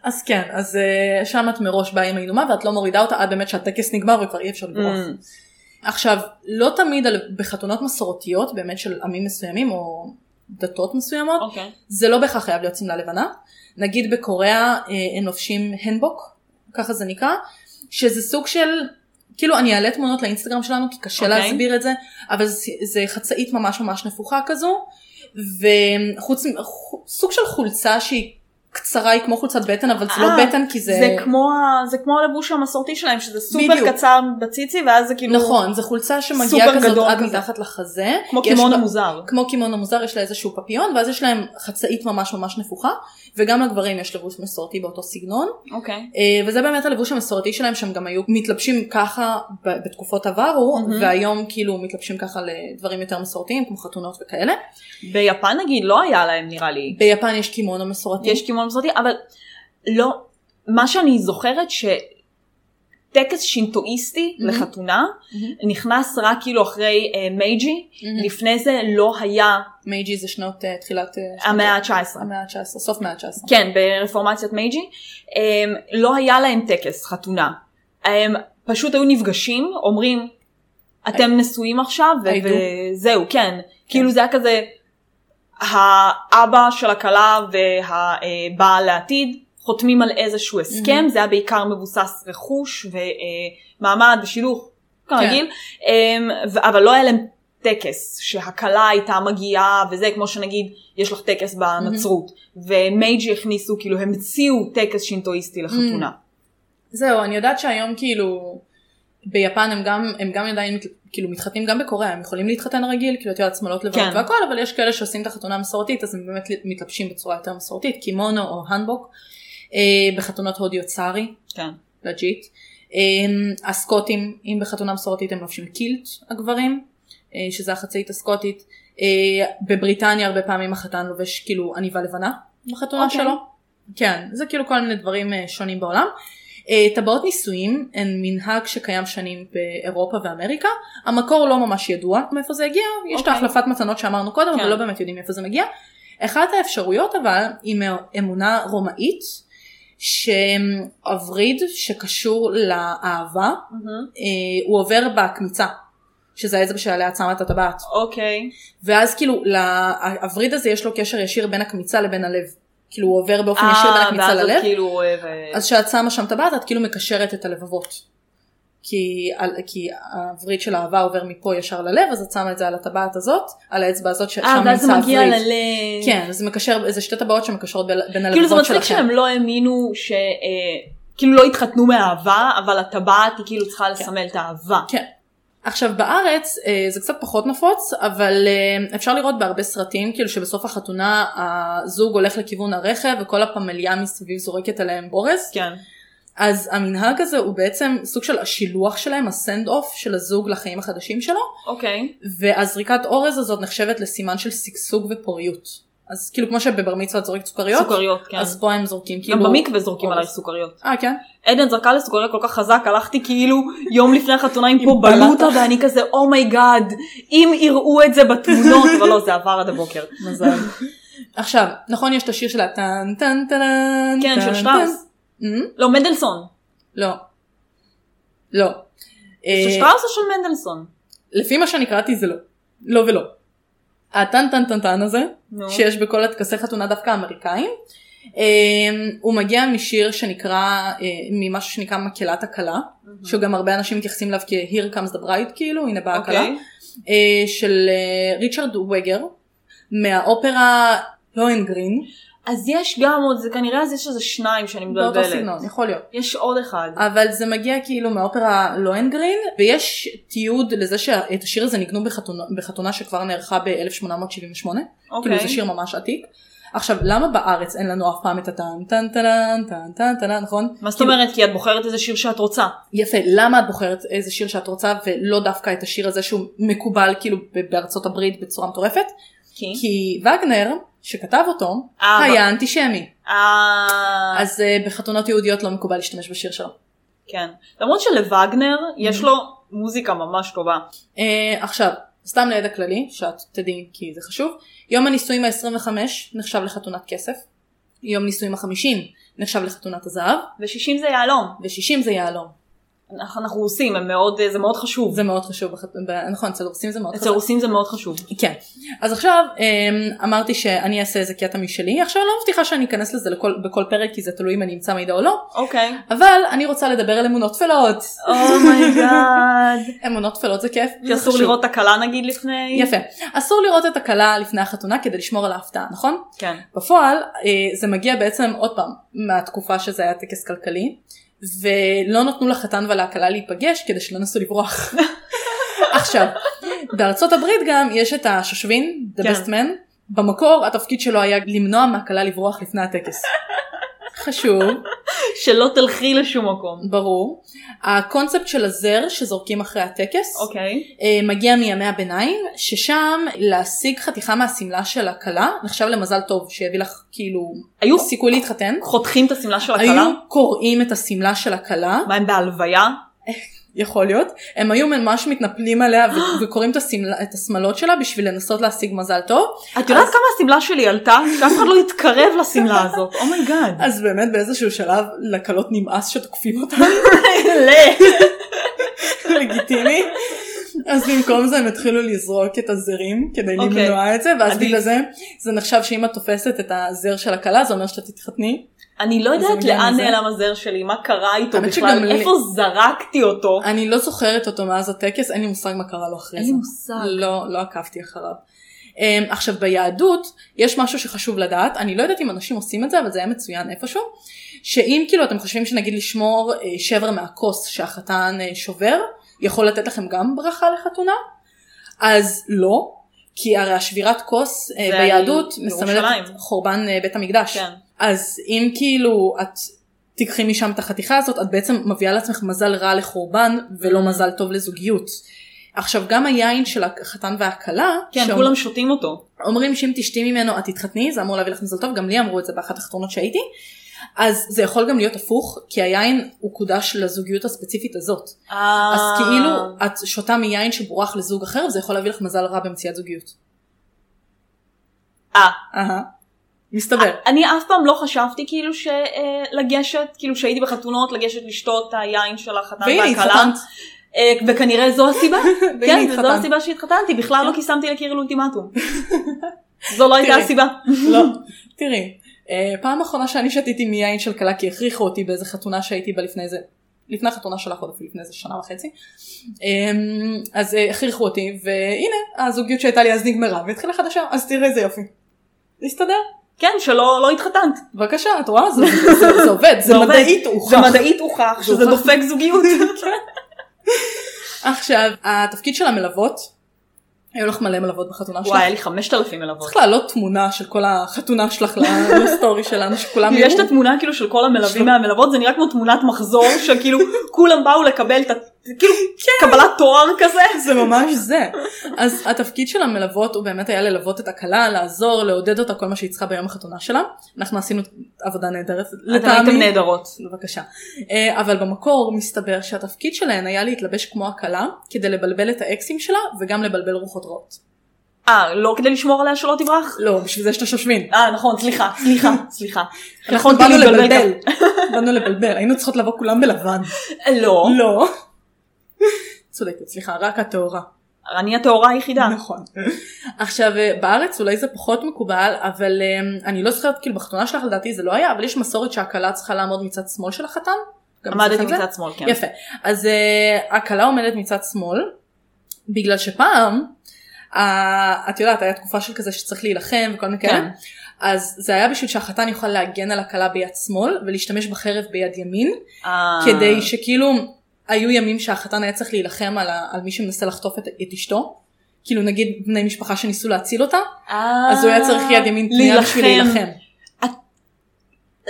אז כן, אז אה, שם את מראש באה עם האינומה ואת לא מורידה אותה עד באמת שהטקס נגמר וכבר אי אפשר לברוח. Mm, עכשיו, לא תמיד על- בחתונות מסורתיות, באמת של עמים מסוימים או דתות מסוימות, אוקיי. זה לא בהכרח חייב להיות שמלה לבנה. נגיד בקוריאה אה, הם לובשים הנבוק, ככה זה נקרא, שזה סוג של, כאילו אני אעלה תמונות לאינסטגרם שלנו כי קשה okay. אוקיי. להסביר את זה, אבל זה, זה חצאית ממש ממש נפוחה כזו, וחוץ, מ- חו- סוג של חולצה שהיא קצרה, היא כמו חולצת בטן, אבל זה לא אה, בטן כי זה... זה כמו ה- זה כמו הלבוש המסורתי שלהם, שזה בדיוק. סופר קצר בציצי, ואז זה כאילו... נכון, זו חולצה סופר שמגיעה כזאת גדול עד כזה. מתחת לחזה. כמו יש קימון לה- מוזר. כמו קימון המוזר יש לה איזשהו פפיון ואז יש להם חצאית ממש ממש נפוחה וגם לגברים יש לבוש מסורתי באותו סגנון אוקיי. אה, וזה באמת הלבוש המסורתי שלהם שהם גם היו מתלבשים ככה ב- בתקופות עברו מהמם. והיום כאילו מתלבשים ככה לדברים יותר מסורתיים כמו חתונות וכאלה. ביפן נגיד לא היה להם נראה לי. ביפן יש קימון המסורתי. יש קימון מסורתי, אבל לא, מה שאני זוכרת שטקס שינטואיסטי Mhm. לחתונה נכנס רק כאילו אחרי אה, מייג'י, מהמם. לפני זה לא היה מייג'י זה שנות אה, תחילת אה, שנות- המאה ה-19. המאה ה-19, סוף המאה ה-19. כן, ברפורמציית מייג'י, אמ, לא היה להם טקס חתונה. הם פשוט היו נפגשים, אומרים, אתם נשואים עכשיו, ו- I do. וזהו, כן. כאילו זה היה כזה, האבא של הכלה והבעל לעתיד חותמים על איזשהו הסכם, זה היה בעיקר מבוסס רכוש אה, ומעמד ושידוך, כרגיל, אמ, ו- אבל לא היה להם טקס שהכלה הייתה מגיעה וזה כמו שנגיד יש לך טקס בנצרות Mhm. ומייג'י הכניסו כאילו המציאו טקס שינטואיסטי לחתונה. זהו אני יודעת שהיום כאילו ביפן הם גם הם גם עדיין מת- כאילו מתחתנים גם בקוריאה הם יכולים להתחתן רגיל כאילו את יודעת שמאלות לבנות כן. והכל אבל יש כאלה שעושים את החתונה המסורתית אז הם באמת מתלבשים בצורה יותר מסורתית קימונו או הנבוק אה, בחתונות הודיות סארי כן. לג'יט אה, הסקוטים אם בחתונה מסורתית הם לובשים קילט הגברים אה, שזה החצאית הסקוטית אה, בבריטניה הרבה פעמים החתן לובש כאילו עניבה לבנה בחתונה אוקיי. שלו כן זה כאילו כל מיני דברים אה, שונים בעולם. אה, אה, טבעות נישואים הן מנהג שקיים שנים באירופה ואמריקה, המקור לא ממש ידוע מאיפה זה הגיע, יש את אוקיי. ההחלפת מתנות שאמרנו קודם, כן. אבל לא באמת יודעים מאיפה זה מגיע. אחת האפשרויות אבל היא מאמונה רומאית, שהווריד שקשור לאהבה, אה, הוא עובר בקמיצה, שזה העזר שעליה את שמה את הטבעת. אוקיי. ואז כאילו, לווריד הזה יש לו קשר ישיר בין הקמיצה לבין הלב. כאילו הוא עובר באופן ישיר בין אה, הקמיצה ואז ללב, את כאילו... אה, ו- אז כשאת שמה שם טבעת את כאילו מקשרת את הלבבות. כי, על, כי הווריד של האהבה עובר מפה ישר ללב, אז את שמה את זה על הטבעת הזאת, על האצבע הזאת ששם נמצא אה, הווריד. ואז זה מגיע ללב. כן, זה מקשר, זה שתי טבעות שמקשרות בין בין כאילו זה הלבבות מצחיק שלכם. שהם לא האמינו ש... אה, כאילו לא התחתנו מאהבה, אבל הטבעת היא כאילו צריכה לסמל את האהבה. כן. עכשיו בארץ אה, זה קצת פחות נפוץ, אבל אה, אפשר לראות בהרבה סרטים, כאילו שבסוף החתונה הזוג הולך לכיוון הרכב וכל הפמליה מסביב זורקת עליהם אורז. כן. אז המנהג הזה הוא בעצם סוג של השילוח שלהם, הסנד אוף של הזוג לחיים החדשים שלו, אוקיי. והזריקת אורז הזאת נחשבת לסימן של שגשוג ופוריות. אז כאילו כמו שבר מצווה את זורקת סוכריות, סוכריות, כן. אז פה הם זורקים כאילו... גם במקווה זורקים אורז. עליי סוכריות. אה כן? עדן זרקה לי סוכריה כל כך חזק, הלכתי כאילו יום לפני החתונה עם פה בלטה. בלוטה, ואני כזה אומייגאד, אם יראו את זה [laughs] בתמונות, אבל לא, זה עבר עד הבוקר. מזל. [laughs] עכשיו, נכון יש את השיר שלה טן טן טן כן, טן, של טן. שטראוס. אמ? לא, מנדלסון. לא. לא. של אה, שטראוס או של מנדלסון? לפי מה שאני קראתי זה לא. לא ולא. הטן טן טן טן הזה, נו. שיש בכל הטקסי חתונה דווקא האמריקאים, אה, הוא מגיע משיר שנקרא, אה, ממשהו שנקרא מקהלת הכלה, שגם הרבה אנשים מתייחסים אליו כ-Here comes the bride, כאילו, הנה באה הכלה, אוקיי. אה, של אה, ריצ'רד וגר, מהאופרה לוהנגרין, אז יש גם עוד, זה כנראה אז יש איזה שניים שאני באותו מבלבלת. לא סגנון, אה, יכול להיות. יש עוד אחד. אבל זה מגיע כאילו מהאופרה לוהנגרין ויש תיעוד לזה שאת השיר הזה ניגנו בחתונה, בחתונה שכבר נערכה ב-1878, אוקיי. כאילו זה שיר ממש עתיק. עכשיו למה בארץ אין לנו אף פעם את הטן טן טן טן טן טן נכון? מה זאת כאילו, אומרת? כי את בוחרת איזה שיר שאת רוצה. יפה למה את בוחרת איזה שיר שאת רוצה ולא דווקא את השיר הזה שהוא מקובל כאילו ב- בארצות הברית בצורה מטורפת? כי? כי וגנר שכתב אותו אוקיי. אה, היה אנטישמי אה... אז אה, בחתונות יהודיות לא מקובל להשתמש בשיר שלו. כן. למרות שלווגנר יש לו מוזיקה ממש טובה. אה, עכשיו, סתם לידע כללי, שאת תדעי כי זה חשוב, יום הנישואים ה-25 נחשב לחתונת כסף, יום נישואים ה-50 נחשב לחתונת הזהב, ושישים זה יהלום. ו-60 זה יהלום. אנחנו אנחנו רוסים, הם מאוד, זה מאוד חשוב. זה מאוד חשוב, בחת... ב... נכון, אצל רוסים זה מאוד אצל חשוב. רוסים זה מאוד חשוב. כן. אז עכשיו אמ, אמרתי שאני אעשה איזה קטע משלי, עכשיו אני לא מבטיחה שאני אכנס לזה לכל, בכל פרק כי זה תלוי אם אני אמצא מידע או לא, אוקיי. אבל אני רוצה לדבר על אמונות טפלות. אומייגאד. אמונות טפלות זה כיף. [laughs] כי זה אסור חשוב. לראות את הכלה נגיד לפני? יפה. אסור לראות את הכלה לפני החתונה כדי לשמור על ההפתעה, נכון? כן. בפועל אה, זה מגיע בעצם עוד פעם מהתקופה שזה היה טקס כלכלי ולא נתנו לחתן ולהקלה להיפגש כדי שלא נסו לברוח. [laughs] עכשיו בארצות הברית גם יש את השושבין the כן. best man במקור התפקיד שלו היה למנוע מהכלה לברוח לפני הטקס. חשוב שלא תלכי לשום מקום. ברור הקונספט של הזר שזורקים אחרי הטקס אוקיי. אה, מגיע מימי הביניים, ששם להשיג חתיכה מהשמלה של הכלה נחשב למזל טוב, שיביא לך כאילו היו סיכוי להתחתן. חותכים את השמלה של הכלה? היו קוראים את השמלה של הכלה, מה הם בהלוויה? יכול להיות, הם היו ממש מתנפלים עליה [gasps] ו- וקוראים את השמלה- את השמלות שלה בשביל לנסות להשיג מזל טוב, את יודעת כמה השמלה שלי עלתה? שאף אחד לא התקרב לשמלה הזאת. [laughs] אומייגאד. אז באמת באיזשהו שלב לכלות נמאס שתוקפים אותה, [laughs] לגיטימי, אז במקום זה הם התחילו לזרוק את הזרים כדי אוקיי. למנוע את זה, ואז עדיף. בגלל זה זה נחשב שאם את תופסת את הזר של הכלה זה אומר שאתה תתחתני. אני לא זה יודעת מגיע לאן מזה. נעלם הזר שלי, מה קרה איתו האמת שגם בכלל, לי- איפה זרקתי אותו. אני לא זוכרת אותו מאז הטקס, אין לי מושג מה קרה לו אחרי אין זה. לי מושג. לא, לא עקבתי אחריו. Um, עכשיו ביהדות יש משהו שחשוב לדעת, אני לא יודעת אם אנשים עושים את זה, אבל זה היה מצוין איפשהו, שאם כאילו אתם חושבים שנגיד לשמור אה, שבר מהכוס שהחתן אה, שובר, יכול לתת לכם גם ברכה לחתונה, אז לא, כי הרי השבירת כוס אה, זה על ביהדות מסמלת ירושלים. את חורבן אה, בית המקדש. כן. אז אם כאילו את תיקחי משם את החתיכה הזאת את בעצם מביאה לעצמך מזל רע לחורבן Mm. ולא מזל טוב לזוגיות. עכשיו גם היין של החתן והכלה, כן, שאומ- כולם שותים אותו. אומרים שאם תשתי ממנו את תתחתני זה אמור להביא לך מזל טוב גם לי אמרו את זה באחת החתונות שהייתי אז זה יכול גם להיות הפוך, כי היין הוא קודש לזוגיות הספציפית הזאת. אז אה. כאילו את שותה מיין שבורח לזוג אחר, וזה יכול להביא לך מזל רע במציאת זוגיות. אה. אהה. מסתבר. אני אף פעם לא חשבתי כאילו שלגשת, כאילו שהייתי בחתונות לגשת לשתות את היין של החתן והנה והכלה. התחתנת. אה, וכנראה זו הסיבה, והנה כן, וזו התחתנת. כן. הסיבה שהתחתנתי, בכלל לא כי שמתי לקיר [laughs] אולטימטום. זו לא הייתה תראי. הסיבה. לא. תראי, אה, פעם אחרונה שאני שתיתי מיין של כלה כי הכריחו אותי באיזה חתונה שהייתי בה לפני איזה, לפני החתונה שלך עוד אפילו לפני איזה שנה וחצי. אה, אז אה, הכריחו אותי, והנה, הזוגיות שהייתה לי אז נגמרה, והתחילה חדשה, אז תראי איזה יופי. הסתדר. כן, שלא לא התחתנת. בבקשה, את רואה? זה, זה, זה, זה עובד, זה עובד. מדעית הוכח. [laughs] זה מדעית הוכח שזה הוכח. דופק [laughs] זוגיות. [laughs] כן. עכשיו, התפקיד של המלוות, היו לך מלא מלוות בחתונה שלך. וואי, היה לי 5,000 מלוות. צריך להעלות תמונה של כל החתונה שלך ל- לסטורי שלנו, שכולם יש את התמונה כאילו של כל המלווים והמלוות, זה נראה כמו תמונת מחזור, [laughs] שכאילו כולם באו לקבל את ה... כאילו כן. קבלת תואר כזה. זה ממש זה. אז התפקיד של המלוות הוא באמת היה ללוות את הכלה, לעזור, לעודד אותה כל מה שהיא צריכה ביום החתונה שלה. אנחנו עשינו עבודה נהדרת, אתם הייתם נהדרות. בבקשה. אה, אבל במקור מסתבר שהתפקיד שלהן היה להתלבש כמו הכלה, כדי לבלבל את האקסים שלה, וגם לבלבל רוחות רעות. אה, לא כדי לשמור עליה שלא תברח? לא, בשביל זה יש את השושבין. אה, נכון, סליחה, סליחה, [laughs] סליחה. אנחנו יכולתי באנו להתבלבל לבלבל. באנו לבלבל, היינו צריכות לבוא כולם בלבן. לא. לא. צודקת, סליחה, רק הטהורה. אני הטהורה היחידה. נכון. עכשיו אה, בארץ אולי זה פחות מקובל אבל אה, אני לא זוכרת כאילו בחתונה שלך לדעתי זה לא היה אבל יש מסורת שהכלה צריכה לעמוד מצד שמאל של החתן. גם עמדתי אצלכם זה? מצד שמאל, כן. יפה. אז אה, הכלה עומדת מצד שמאל בגלל שפעם אה, את יודעת היה תקופה של כזה שצריך להילחם וכל מיני כאלה. כן. אז זה היה בשביל שהחתן יוכל להגן על הכלה ביד שמאל ולהשתמש בחרב ביד ימין אה, כדי שכאילו היו ימים שהחתן היה צריך להילחם על, ה, על מי שמנסה לחטוף את, את אשתו. כאילו נגיד בני משפחה שניסו להציל אותה, אה, אז הוא היה צריך יד ימין פנייה בשביל להילחם.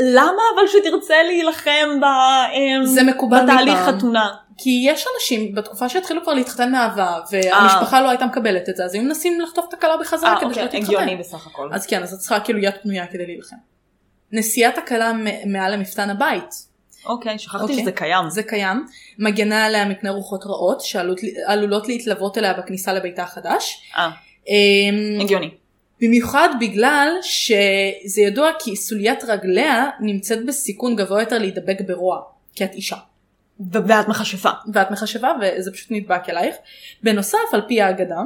למה אבל שתרצה להילחם ב... אה, זה מקובל בתהליך מפעם. חתונה? כי יש אנשים בתקופה שהתחילו כבר להתחתן מאהבה, והמשפחה לא הייתה מקבלת את זה, אז היו מנסים לחטוף את הכלה בחזרה אה, כדי שלא אוקיי, תתחתן. הגיוני בסך הכל. אז כן, אז את צריכה כאילו יד פנויה כדי להילחם. נשיאת הכלה מ- מעל למפתן הבית, אוקיי, שכחתי אוקיי. שזה קיים. זה קיים, מגנה עליה מפני רוחות רעות שעלולות להתלוות אליה בכניסה לביתה החדש. אה, אמ, הגיוני. במיוחד בגלל שזה ידוע כי סוליית רגליה נמצאת בסיכון גבוה יותר להידבק ברוע, כי את אישה, ו- ואת מכשפה. ואת מחשבה וזה פשוט נדבק אלייך. בנוסף, על פי האגדה,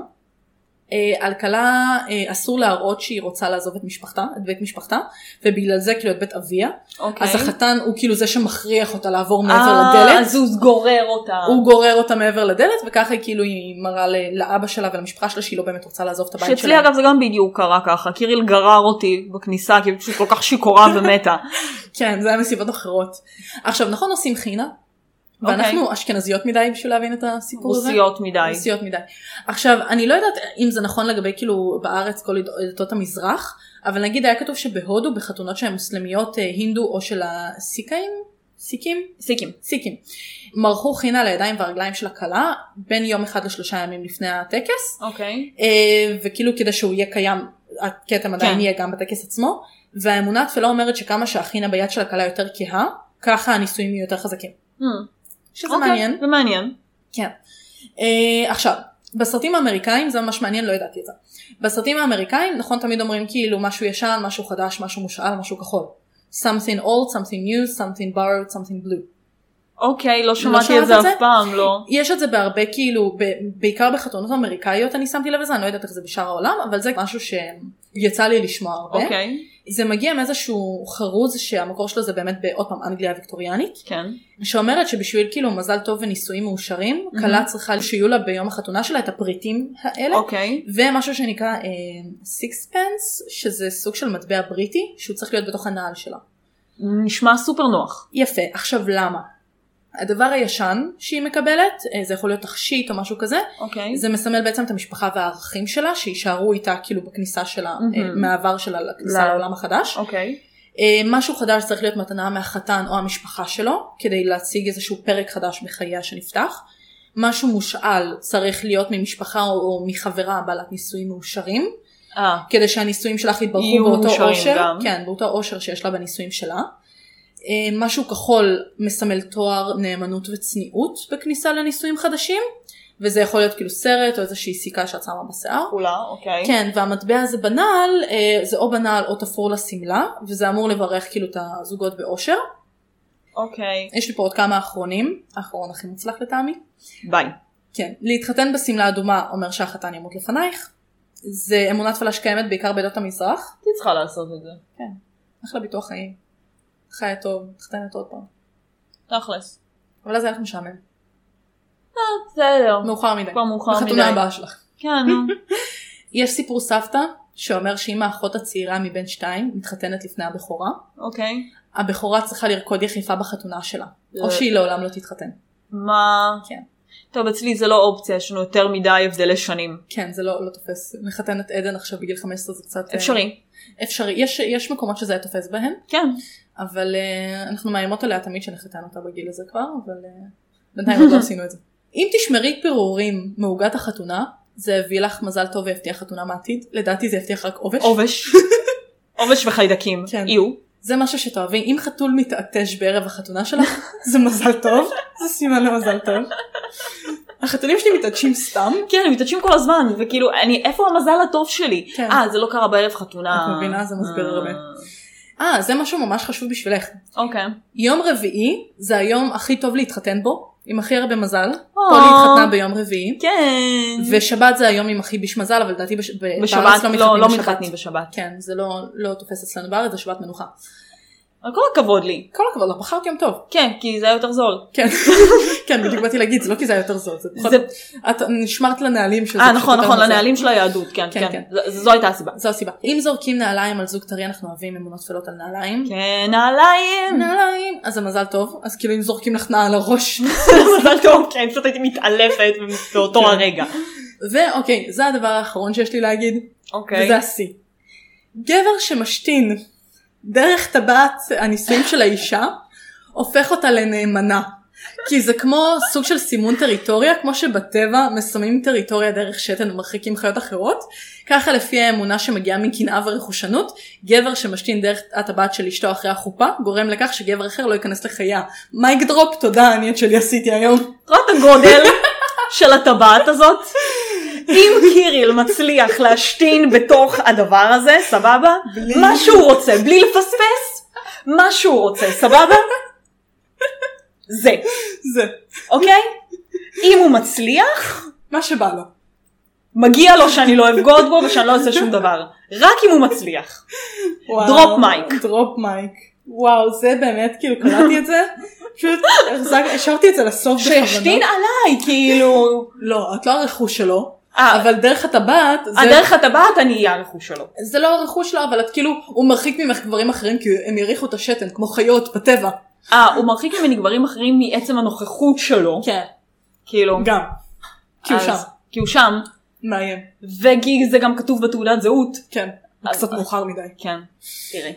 אה, על כלה אה, אסור להראות שהיא רוצה לעזוב את משפחתה, את בית משפחתה, ובגלל זה כאילו את בית אביה, אוקיי. אז החתן הוא כאילו זה שמכריח אותה לעבור מעבר אה, לדלת. אז הוא גורר אותה. הוא גורר אותה מעבר לדלת וככה היא כאילו היא מראה ל- לאבא שלה ולמשפחה שלה שהיא לא באמת רוצה לעזוב את הבית שאצלי שלה. אגב זה גם בדיוק קרה ככה, קיריל גרר אותי בכניסה כי היא פשוט כל כך שיכורה ומתה. כן, זה היה מסיבות אחרות. עכשיו, נכון עושים חינה, ואנחנו אשכנזיות מדי בשביל להבין את הסיפור הזה. אוקיי. רוסיות מדי. רוסיות מדי. עכשיו, אני לא יודעת אם זה נכון לגבי כאילו בארץ כל עד- עדות המזרח, אבל נגיד היה כתוב שבהודו בחתונות שהן מוסלמיות, אה, הינדו או של הסיקאים, סיקים? סיקים. סיקים. מרחו חינה לידיים והרגליים של הכלה בין יום אחד לשלושה ימים לפני הטקס. אוקיי. אה, וכאילו כדי שהוא יהיה קיים, הכתם עדיין כן. יהיה גם בטקס עצמו, והאמונה התפלה אומרת שכמה שהחינה ביד של הכלה יותר כהה, ככה הניסויים יהיו יותר חזקים. שזה אוקיי, Hmm. מעניין. זה מעניין. כן. אה, עכשיו, בסרטים האמריקאים זה ממש מעניין, לא ידעתי את זה. בסרטים האמריקאים, נכון, תמיד אומרים כאילו משהו ישן, משהו חדש, משהו מושאל, משהו כחול. something old, something new, something borrowed, something blue. אוקיי, לא שמעת שמעתי את זה את אף זה? פעם, לא. יש את זה בהרבה כאילו, ב- בעיקר בחתונות אמריקאיות אני שמתי לב לזה, אני לא יודעת איך זה בשאר העולם, אבל זה משהו שיצא לי לשמוע הרבה. אוקיי, זה מגיע מאיזשהו חרוז שהמקור שלו זה באמת בעוד פעם אנגליה הוויקטוריאנית, כן. שאומרת שבשביל כאילו מזל טוב ונישואים מאושרים, מהמם. כלה צריכה שיהיו לה ביום החתונה שלה את הפריטים האלה, אוקיי. ומשהו שנקרא סיקספנס, שזה סוג של מטבע בריטי, שהוא צריך להיות בתוך הנעל שלה. נשמע סופר נוח. יפה, עכשיו למה? הדבר הישן שהיא מקבלת, אה, זה יכול להיות תכשיט או משהו כזה, אוקיי. זה מסמל בעצם את המשפחה והערכים שלה, שיישארו איתה כאילו בכניסה שלה, אה, מהמם. מהעבר שלה לכניסה ל- לעולם החדש. אוקיי. אה, משהו חדש צריך להיות מתנה מהחתן או המשפחה שלו כדי להציג איזשהו פרק חדש בחייה שנפתח. משהו מושאל צריך להיות ממשפחה או, או מחברה בעלת נישואים מאושרים אה, כדי שהנישואים שלך יתברכו יהיו באותו מאושרים אושר, גם. כן, באותו אושר שיש לה בנישואים שלה. אה, משהו כחול מסמל תואר נאמנות וצניעות בכניסה לנישואים חדשים, וזה יכול להיות כאילו סרט או איזושהי סיכה שאת שמה בשיער. כולה, אוקיי. כן, והמטבע הזה בנעל, אה, זה או בנעל או תפור לשמלה, וזה אמור לברך כאילו את הזוגות באושר. אוקיי. יש לי פה עוד כמה אחרונים, האחרון הכי מוצלח לטעמי. ביי. כן, להתחתן בשמלה אדומה אומר שהחתן ימות לפנייך. זה אמונת פלש קיימת בעיקר בעדות המזרח. הייתי צריכה לעשות את זה. אחלה ביטוח חיים. חיה טוב, מתחתנת עוד פעם. תכלס. אבל אז היה לך משעמם. בסדר. מאוחר מדי. כבר מאוחר מדי. בחתונה הבאה שלך. כן, [laughs] נו. יש סיפור סבתא שאומר שאם האחות הצעירה מבין שתיים מתחתנת לפני הבכורה, אוקיי. הבכורה צריכה לרקוד יחפה בחתונה שלה. לא. או שהיא לעולם לא תתחתן. מה... כן. טוב, אצלי זה לא אופציה, יש לנו יותר מדי הבדלי שנים. כן, זה לא לא תופס. לחתן את עדן עכשיו בגיל 15 זה קצת... אה, אפשרי. אפשרי. יש- יש מקומות שזה היה תופס בהם. [laughs] כן. אבל אה, אנחנו מאיימות עליה תמיד שנחתן אותה בגיל הזה כבר, אבל אה, בינתיים עוד לא עשינו את זה. אם תשמרי פירורים מעוגת החתונה, זה הביא לך מזל טוב ויבטיח חתונה מעתיד, לדעתי זה יבטיח רק עובש. [laughs] עובש. עובש וחיידקים. כן. יהיו. זה משהו שתאהבי, אם חתול מתעטש בערב החתונה שלך, זה מזל טוב, זה סימן למזל טוב. החתולים שלי מתעטשים סתם, כן, הם מתעדשים כל הזמן, וכאילו, אני, איפה המזל הטוב שלי? כן. אה, זה לא קרה בערב חתונה. את מבינה? זה מסביר אה. הרבה. אה, זה משהו ממש חשוב בשבילך. אוקיי. יום רביעי זה היום הכי טוב להתחתן בו, עם הכי הרבה מזל. אה. פולי התחתנה ביום רביעי. כן. ושבת זה היום עם הכי ביש מזל אבל לדעתי בש... ב- אה, בארץ בשבת, לא, לא מתחתנים בשבת. כן זה לא, לא תופס אצלנו בארץ זה שבת מנוחה. אבל כל הכבוד לי. כל הכבוד לא בחרת יום טוב. כן, כי זה היה יותר זול. כן, כן בדיוק באתי להגיד זה לא כי זה היה יותר זול. זה פחות... זה- את נשמרת לנהלים של אה, נכון, נכון, לנהלים של היהדות, כן, כן, כן. כן. ז- זו הייתה הסיבה. זו הסיבה. אם זורקים נעליים על זוג טרי אנחנו אוהבים אמונות טפלות על נעליים. כן, נעליים. נעליים אז זה מזל טוב אז כאילו אם זורקים לך נעל על הראש. [laughs] מזל טוב, כן, פשוט הייתי מתעלפת באותו כן. הרגע. ואוקיי זה הדבר האחרון שיש לי להגיד אוקיי. וזה השיא. גבר שמשתין דרך טבעת הנישואים של האישה, הופך אותה לנאמנה. כי זה כמו סוג של סימון טריטוריה, כמו שבטבע מסמנים טריטוריה דרך שתן ומרחיקים חיות אחרות, ככה לפי האמונה שמגיעה מקנאה ורכושנות, גבר שמשתין דרך הטבעת של אשתו אחרי החופה, גורם לכך שגבר אחר לא ייכנס לחייה. מייק דרופ, תודה, אני את שלי עשיתי היום. [laughs] את רואה את הגודל של הטבעת הזאת? אם קיריל מצליח להשתין בתוך הדבר הזה, סבבה? מה שהוא רוצה, בלי לפספס, מה שהוא רוצה, סבבה? זה, זה, אוקיי? אם הוא מצליח, מה שבא לו. מגיע לו שאני לא אבגוד בו ושאני לא אעשה שום דבר. רק אם הוא מצליח. וואו, דרופ מייק. דרופ מייק. וואו, זה באמת, כאילו, קראתי את זה, פשוט החזק- השארתי את זה לסוף בכוונה. שישתין עליי, כאילו... לא, את לא הרכוש שלו, אה, אבל אבל דרך הטבעת, זה- דרך הטבעת אני אהיה הרכוש שלו. זה לא הרכוש שלו, אבל את כאילו, הוא מרחיק ממך גברים אחרים, כי הם יריחו את השתן, כמו חיות, בטבע. אה, הוא מרחיק ממני גברים אחרים מעצם הנוכחות שלו. כן. כאילו. גם. כי הוא אז- שם. כי הוא שם, מאיים. וכי זה גם כתוב בתעודת זהות. כן. אז- קצת מאוחר מדי. כן, תראי.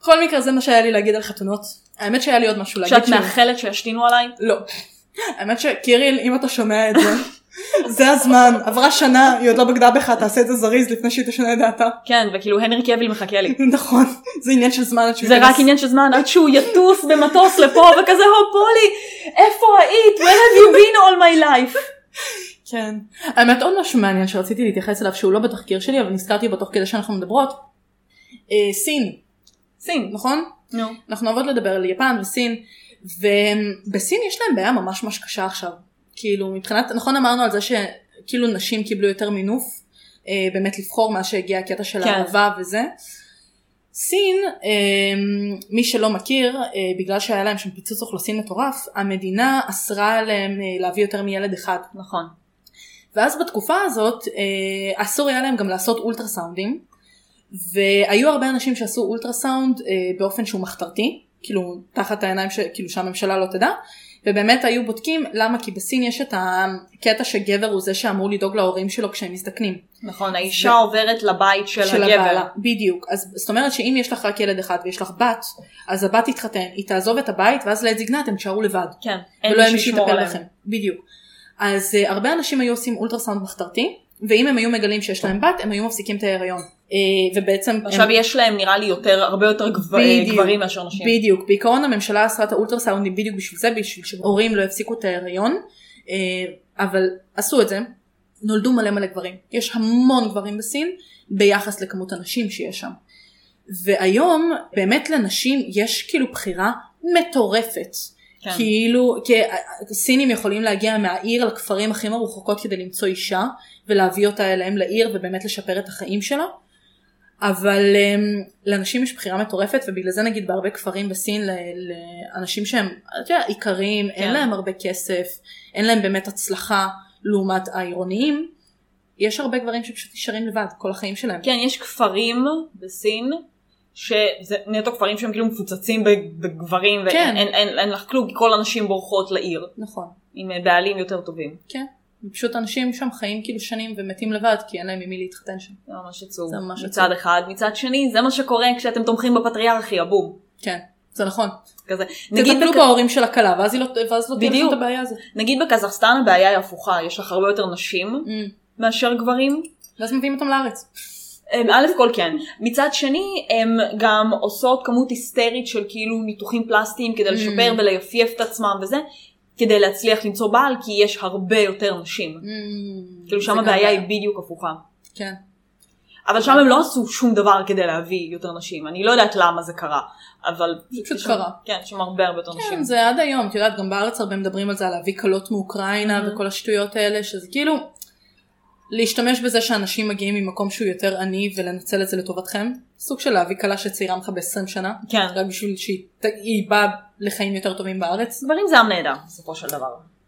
בכל מקרה, זה מה שהיה לי להגיד על חתונות. האמת שהיה לי עוד משהו להגיד. שאת שהוא- מאחלת שישתינו עליי? לא. האמת שקיריל, אם אתה שומע את זה, זה הזמן, עברה שנה, היא עוד לא בגדה בך, תעשה את זה זריז לפני שהיא תשנה את דעתה. כן, וכאילו הנרי קביל מחכה [laughs] לי. נכון, זה עניין של זמן עד שהוא זה ייכנס. רק עניין של זמן עד שהוא יטוס במטוס לפה [laughs] וכזה הו פולי איפה היית? where have you been all my life? כן. האמת עוד משהו מעניין שרציתי להתייחס אליו שהוא לא בתחקיר שלי אבל נזכרתי בו תוך כדי שאנחנו מדברות. אה, סין, סין. נכון? נו. אנחנו אוהבות לדבר על יפן וסין, ובסין יש להם בעיה ממש ממש קשה עכשיו. כאילו מבחינת, נכון אמרנו על זה שכאילו נשים קיבלו יותר מינוף, אה, באמת לבחור מה שהגיע הקטע של כן. האהבה וזה. סין, אה, מי שלא מכיר, אה, בגלל שהיה להם שם פיצוץ אוכלוסין מטורף, המדינה אסרה עליהם אה, להביא יותר מילד אחד. נכון. ואז בתקופה הזאת אה, אסור היה להם גם לעשות אולטרסאונדים והיו הרבה אנשים שעשו אולטרסאונד אה, באופן שהוא מחתרתי כאילו תחת העיניים ש... כאילו שהממשלה לא תדע ובאמת היו בודקים למה כי בסין יש את הקטע שגבר הוא זה שאמור לדאוג להורים שלו כשהם מזדקנים נכון, האישה עוברת לבית של הגבר. הבעלה. בדיוק אז זאת אומרת שאם יש לך רק ילד אחד ויש לך בת אז הבת תתחתן היא תעזוב את הבית ואז לעת זקנה אתם תישארו לבד כן. ולא היה מי שיטפל עליהם. אה, בכם. בדיוק. אז uh, הרבה אנשים היו עושים אולטרסאונד מחתרתי, ואם הם היו מגלים שיש להם בת, הם היו מפסיקים את ההיריון. אה, ובעצם... עכשיו הם... יש להם נראה לי יותר, הרבה יותר גב- בדיוק. גברים מאשר נשים. בדיוק, בעיקרון הממשלה אסרה את האולטרסאונדים בדיוק בשביל זה, בשביל שהורים לא יפסיקו את ההיריון, אה, אבל עשו את זה, נולדו מלא מלא גברים. יש המון גברים בסין ביחס לכמות הנשים שיש שם. והיום באמת לנשים יש כאילו בחירה מטורפת. כן. כן. כאילו, כי הסינים יכולים להגיע מהעיר לכפרים הכי מרוחקות כדי למצוא אישה ולהביא אותה אליהם לעיר ובאמת לשפר את החיים שלה. אבל אמ, לאנשים יש בחירה מטורפת ובגלל זה נגיד בהרבה כפרים בסין ל- לאנשים שהם אתה יודע, איכרים, כן. אין להם הרבה כסף, אין להם באמת הצלחה לעומת העירוניים, יש הרבה גברים שפשוט נשארים לבד כל החיים שלהם. כן, יש כפרים בסין, שזה נטו כפרים שהם כאילו מפוצצים ב- בגברים, ואין כן. אין, אין, אין לך כלום, כי כל הנשים בורחות לעיר, נכון, עם אה, בעלים יותר טובים. כן. פשוט אנשים שם חיים כאילו שנים ומתים לבד כי אין להם עם מי להתחתן שם. זה ממש עצוב. זה ממש מצד אחד, מצד שני, זה מה שקורה כשאתם תומכים בפטריארכי, הבום. כן, זה נכון. כזה. נגיד, תטפלו בכ... בהורים של הכלה ואז היא לא- ואז לא תהיה לכם בדיוק. את הבעיה הזאת. נגיד בקזחסטן הבעיה היא הפוכה, יש לך הרבה יותר נשים אמ, מאשר גברים. ואז מביאים אותם לארץ. הם, א' כל כן. מצד שני, הם גם עושות כמות היסטרית של כאילו ניתוחים פלסטיים כדי לשפר Mm. ולייפייף את עצמם וזה, כדי להצליח למצוא בעל, כי יש הרבה יותר נשים. אמ, כאילו זה שם גם הבעיה בעיה. היא בדיוק הפוכה. כן. אבל שם הם לא עשו שום דבר כדי להביא יותר נשים, אני לא יודעת למה זה קרה, אבל... זה פשוט יש שם- קרה. כן, יש שם הרבה הרבה יותר נשים. כן, זה עד היום, את יודעת, גם בארץ הרבה מדברים על זה, על להביא כלות מאוקראינה Mhm. וכל השטויות האלה, שזה כאילו, להשתמש בזה שאנשים מגיעים ממקום שהוא יותר עני ולנצל את זה לטובתכם, סוג של להביא כלה שצעירה ממך ב-20 שנה, כן. רק בשביל שהיא ת- היא באה לחיים יותר טובים בארץ. גברים זה עם נהדר, בסופו של דבר.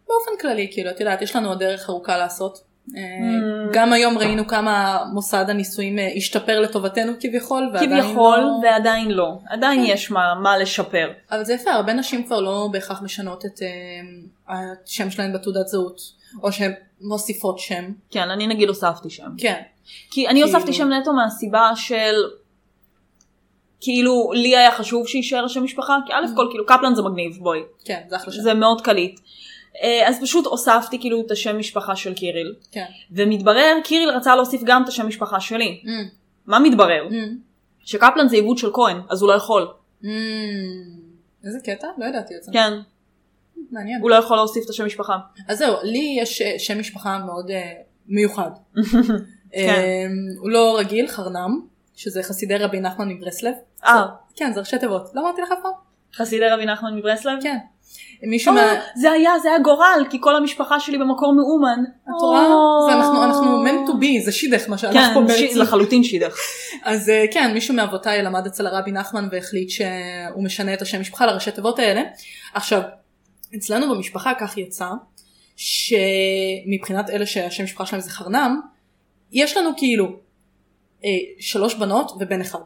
באופן כללי, כאילו, את יודעת, יש לנו עוד דרך ארוכה לעשות. אה, Mm. גם היום ראינו כמה מוסד הנישואים אה, השתפר לטובתנו כביכול, ועדיין כביכול, לא- כן. ועדיין לא. עדיין יש מה- מה לשפר. אבל זה יפה, הרבה נשים כבר לא בהכרח משנות את אה, השם שלהן בתעודת זהות, או שהן מוסיפות שם. כן, אני נגיד הוספתי שם. כן. כי אני הוספתי שם כאילו- נטו מהסיבה של כאילו לי היה חשוב שיישאר השם משפחה כי א' כל כאילו קפלן זה מגניב בואי כן, זה אחלה שם. זה מאוד קליט. אה, אז פשוט הוספתי כאילו את השם משפחה של קיריל כן. ומתברר קיריל רצה להוסיף גם את השם משפחה שלי Mm, מה מתברר mm, שקפלן זה עיבוד של כהן אז הוא לא יכול mm. איזה קטע? לא ידעתי את זה. כן מעניין. הוא לא יכול להוסיף את השם משפחה אז זהו, לי יש אה, שם משפחה מאוד אה, מיוחד. [laughs] כן. אה, הוא לא רגיל, חרנם, שזה חסידי רבי נחמן מברסלב. אה כן, זה ראשי תיבות. לא אמרתי לך אף פעם? חסידי רבי נחמן מברסלב כן. מישהו מה... אה, זה היה זה היה גורל כי כל המשפחה שלי במקור מאומן את רואה? אה. זה אנחנו- אנחנו meant to be, זה שידך מה שהלך פה כן, בעצם. ש- לחלוטין שידך. אז אה, כן, מישהו מאבותיי למד אצל הרבי נחמן והחליט שהוא משנה את השם משפחה לראשי תיבות האלה. עכשיו, אצלנו במשפחה כך יצא, שמבחינת אלה שהשם משפחה שלהם זה חרנם, יש לנו כאילו אה, שלוש בנות ובן אחד.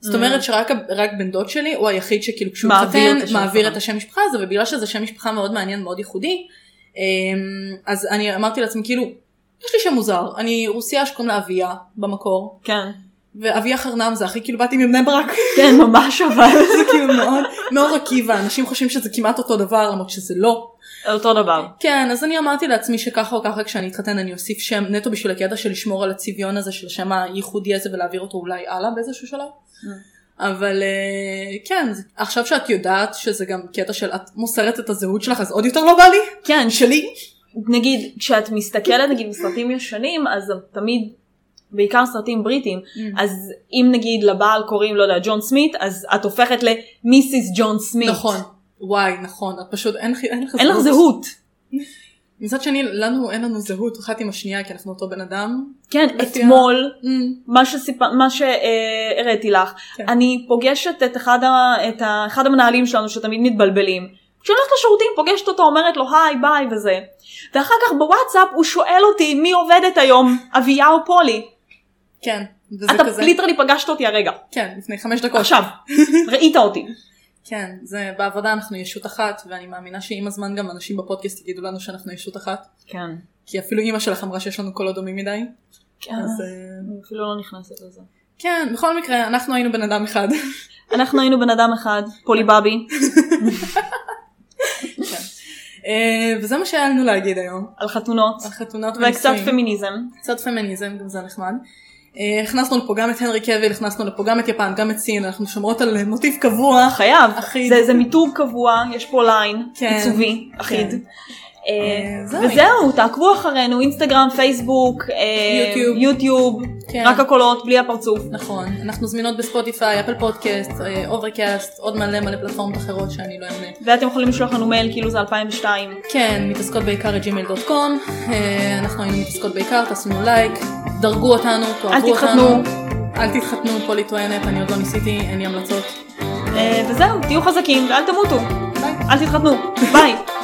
זאת אומרת שרק ה- רק בן דוד שלי הוא היחיד שכאילו כשהוא Mm. מעביר מתחתן את השם מעביר משפחה. את השם משפחה הזה ובגלל שזה שם משפחה מאוד מעניין מאוד ייחודי אמ, אז אני אמרתי לעצמי כאילו יש לי שם מוזר אני רוסייה שקוראים לה אביה במקור כן. ואביה חרנם זה הכי כאילו באתי מבני ברק [laughs] כן, ממש אבל. זה כאילו מאוד מאור עקיבא אנשים חושבים שזה כמעט אותו דבר למרות שזה לא. אותו דבר. כן אז אני אמרתי לעצמי שככה או ככה כשאני אתחתן אני אוסיף שם נטו בשביל הקטע של לשמור על הצביון הזה של השם הייחודי הזה ולהעביר אותו אולי הלאה באיזשהו שלב. Mm. אבל אה, כן זה- עכשיו שאת יודעת שזה גם קטע של את מוסרת את הזהות שלך אז עוד יותר לא בא לי כן, ש- שלי. נגיד, כשאת מסתכלת נגיד בסרטים ישנים, אז תמיד, בעיקר סרטים בריטים, אז אם נגיד לבעל קוראים, לא יודע, ג'ון סמית, אז את הופכת למיסיס ג'ון סמית. נכון וואי נכון את פשוט אין לך- לך אין לך זהות. מצד שני לנו אין לנו זהות אחת עם השנייה כי אנחנו אותו בן אדם. כן, לפי ה- אתמול, אמ, מה שסיפ- מה שהראיתי לך, כן. אני פוגשת את אחד ה- את ה- אחד המנהלים שלנו שתמיד מתבלבלים. כשאני הולכת לשירותים פוגשת אותו, אומרת לו היי ביי וזה. ואחר כך בוואטסאפ הוא שואל אותי מי עובדת היום, אביה או פולי. כן, וזה אתה כזה, ליטרלי פגשת אותי הרגע, כן, לפני חמש דקות. עכשיו, ראית אותי. כן, זה, בעבודה אנחנו ישות אחת, ואני מאמינה שעם הזמן גם אנשים בפודקאסט יגידו לנו שאנחנו ישות אחת, כן. כי אפילו אימא שלך אמרה שיש לנו קולות דומים מדי, אז... כן. אה, אני אפילו לא נכנסת לזה. כן, בכל מקרה, אנחנו היינו בן אדם אחד. אנחנו היינו בן אדם אחד, פולי בבי. אה, וזה מה שהיה לנו להגיד היום. על חתונות, על חתונות וקצת ונישואים. פמיניזם. קצת פמיניזם, גם זה נחמד. אה, הכנסנו לפה גם את הנרי קוויל, הכנסנו לפה גם את יפן, גם את סין, אנחנו שומרות על אה, מוטיב קבוע. חייב, אחיד. זה, זה מיתוג קבוע, יש פה ליין, כן. עיצובי, אחיד. כן. אה, זהו. וזהו, תעקבו אחרינו, אינסטגרם, פייסבוק, אה, יוטיוב. יוטיוב, כן. רק הקולות, בלי הפרצוף. נכון, אנחנו זמינות בספוטיפיי, אפל פודקאסט, אה, אוברקאסט, עוד מלא מלא פלטפורמות אחרות שאני לא אמנה. ואתם יכולים לשלוח לנו מייל כאילו זה 2002. כן, מתעסקות בעיקר את gmail.com, אה, אנחנו היינו מתעסקות בעיקר, תעשו לנו לייק, דרגו אותנו, תאהבו אל אותנו. תתחתנו. אל תתחתנו, פה לי טוענת, אני עוד לא ניסיתי, אין לי המלצות. אה, וזהו, תהיו חזקים ואל תמותו. ביי. אל תתחתנו. ביי.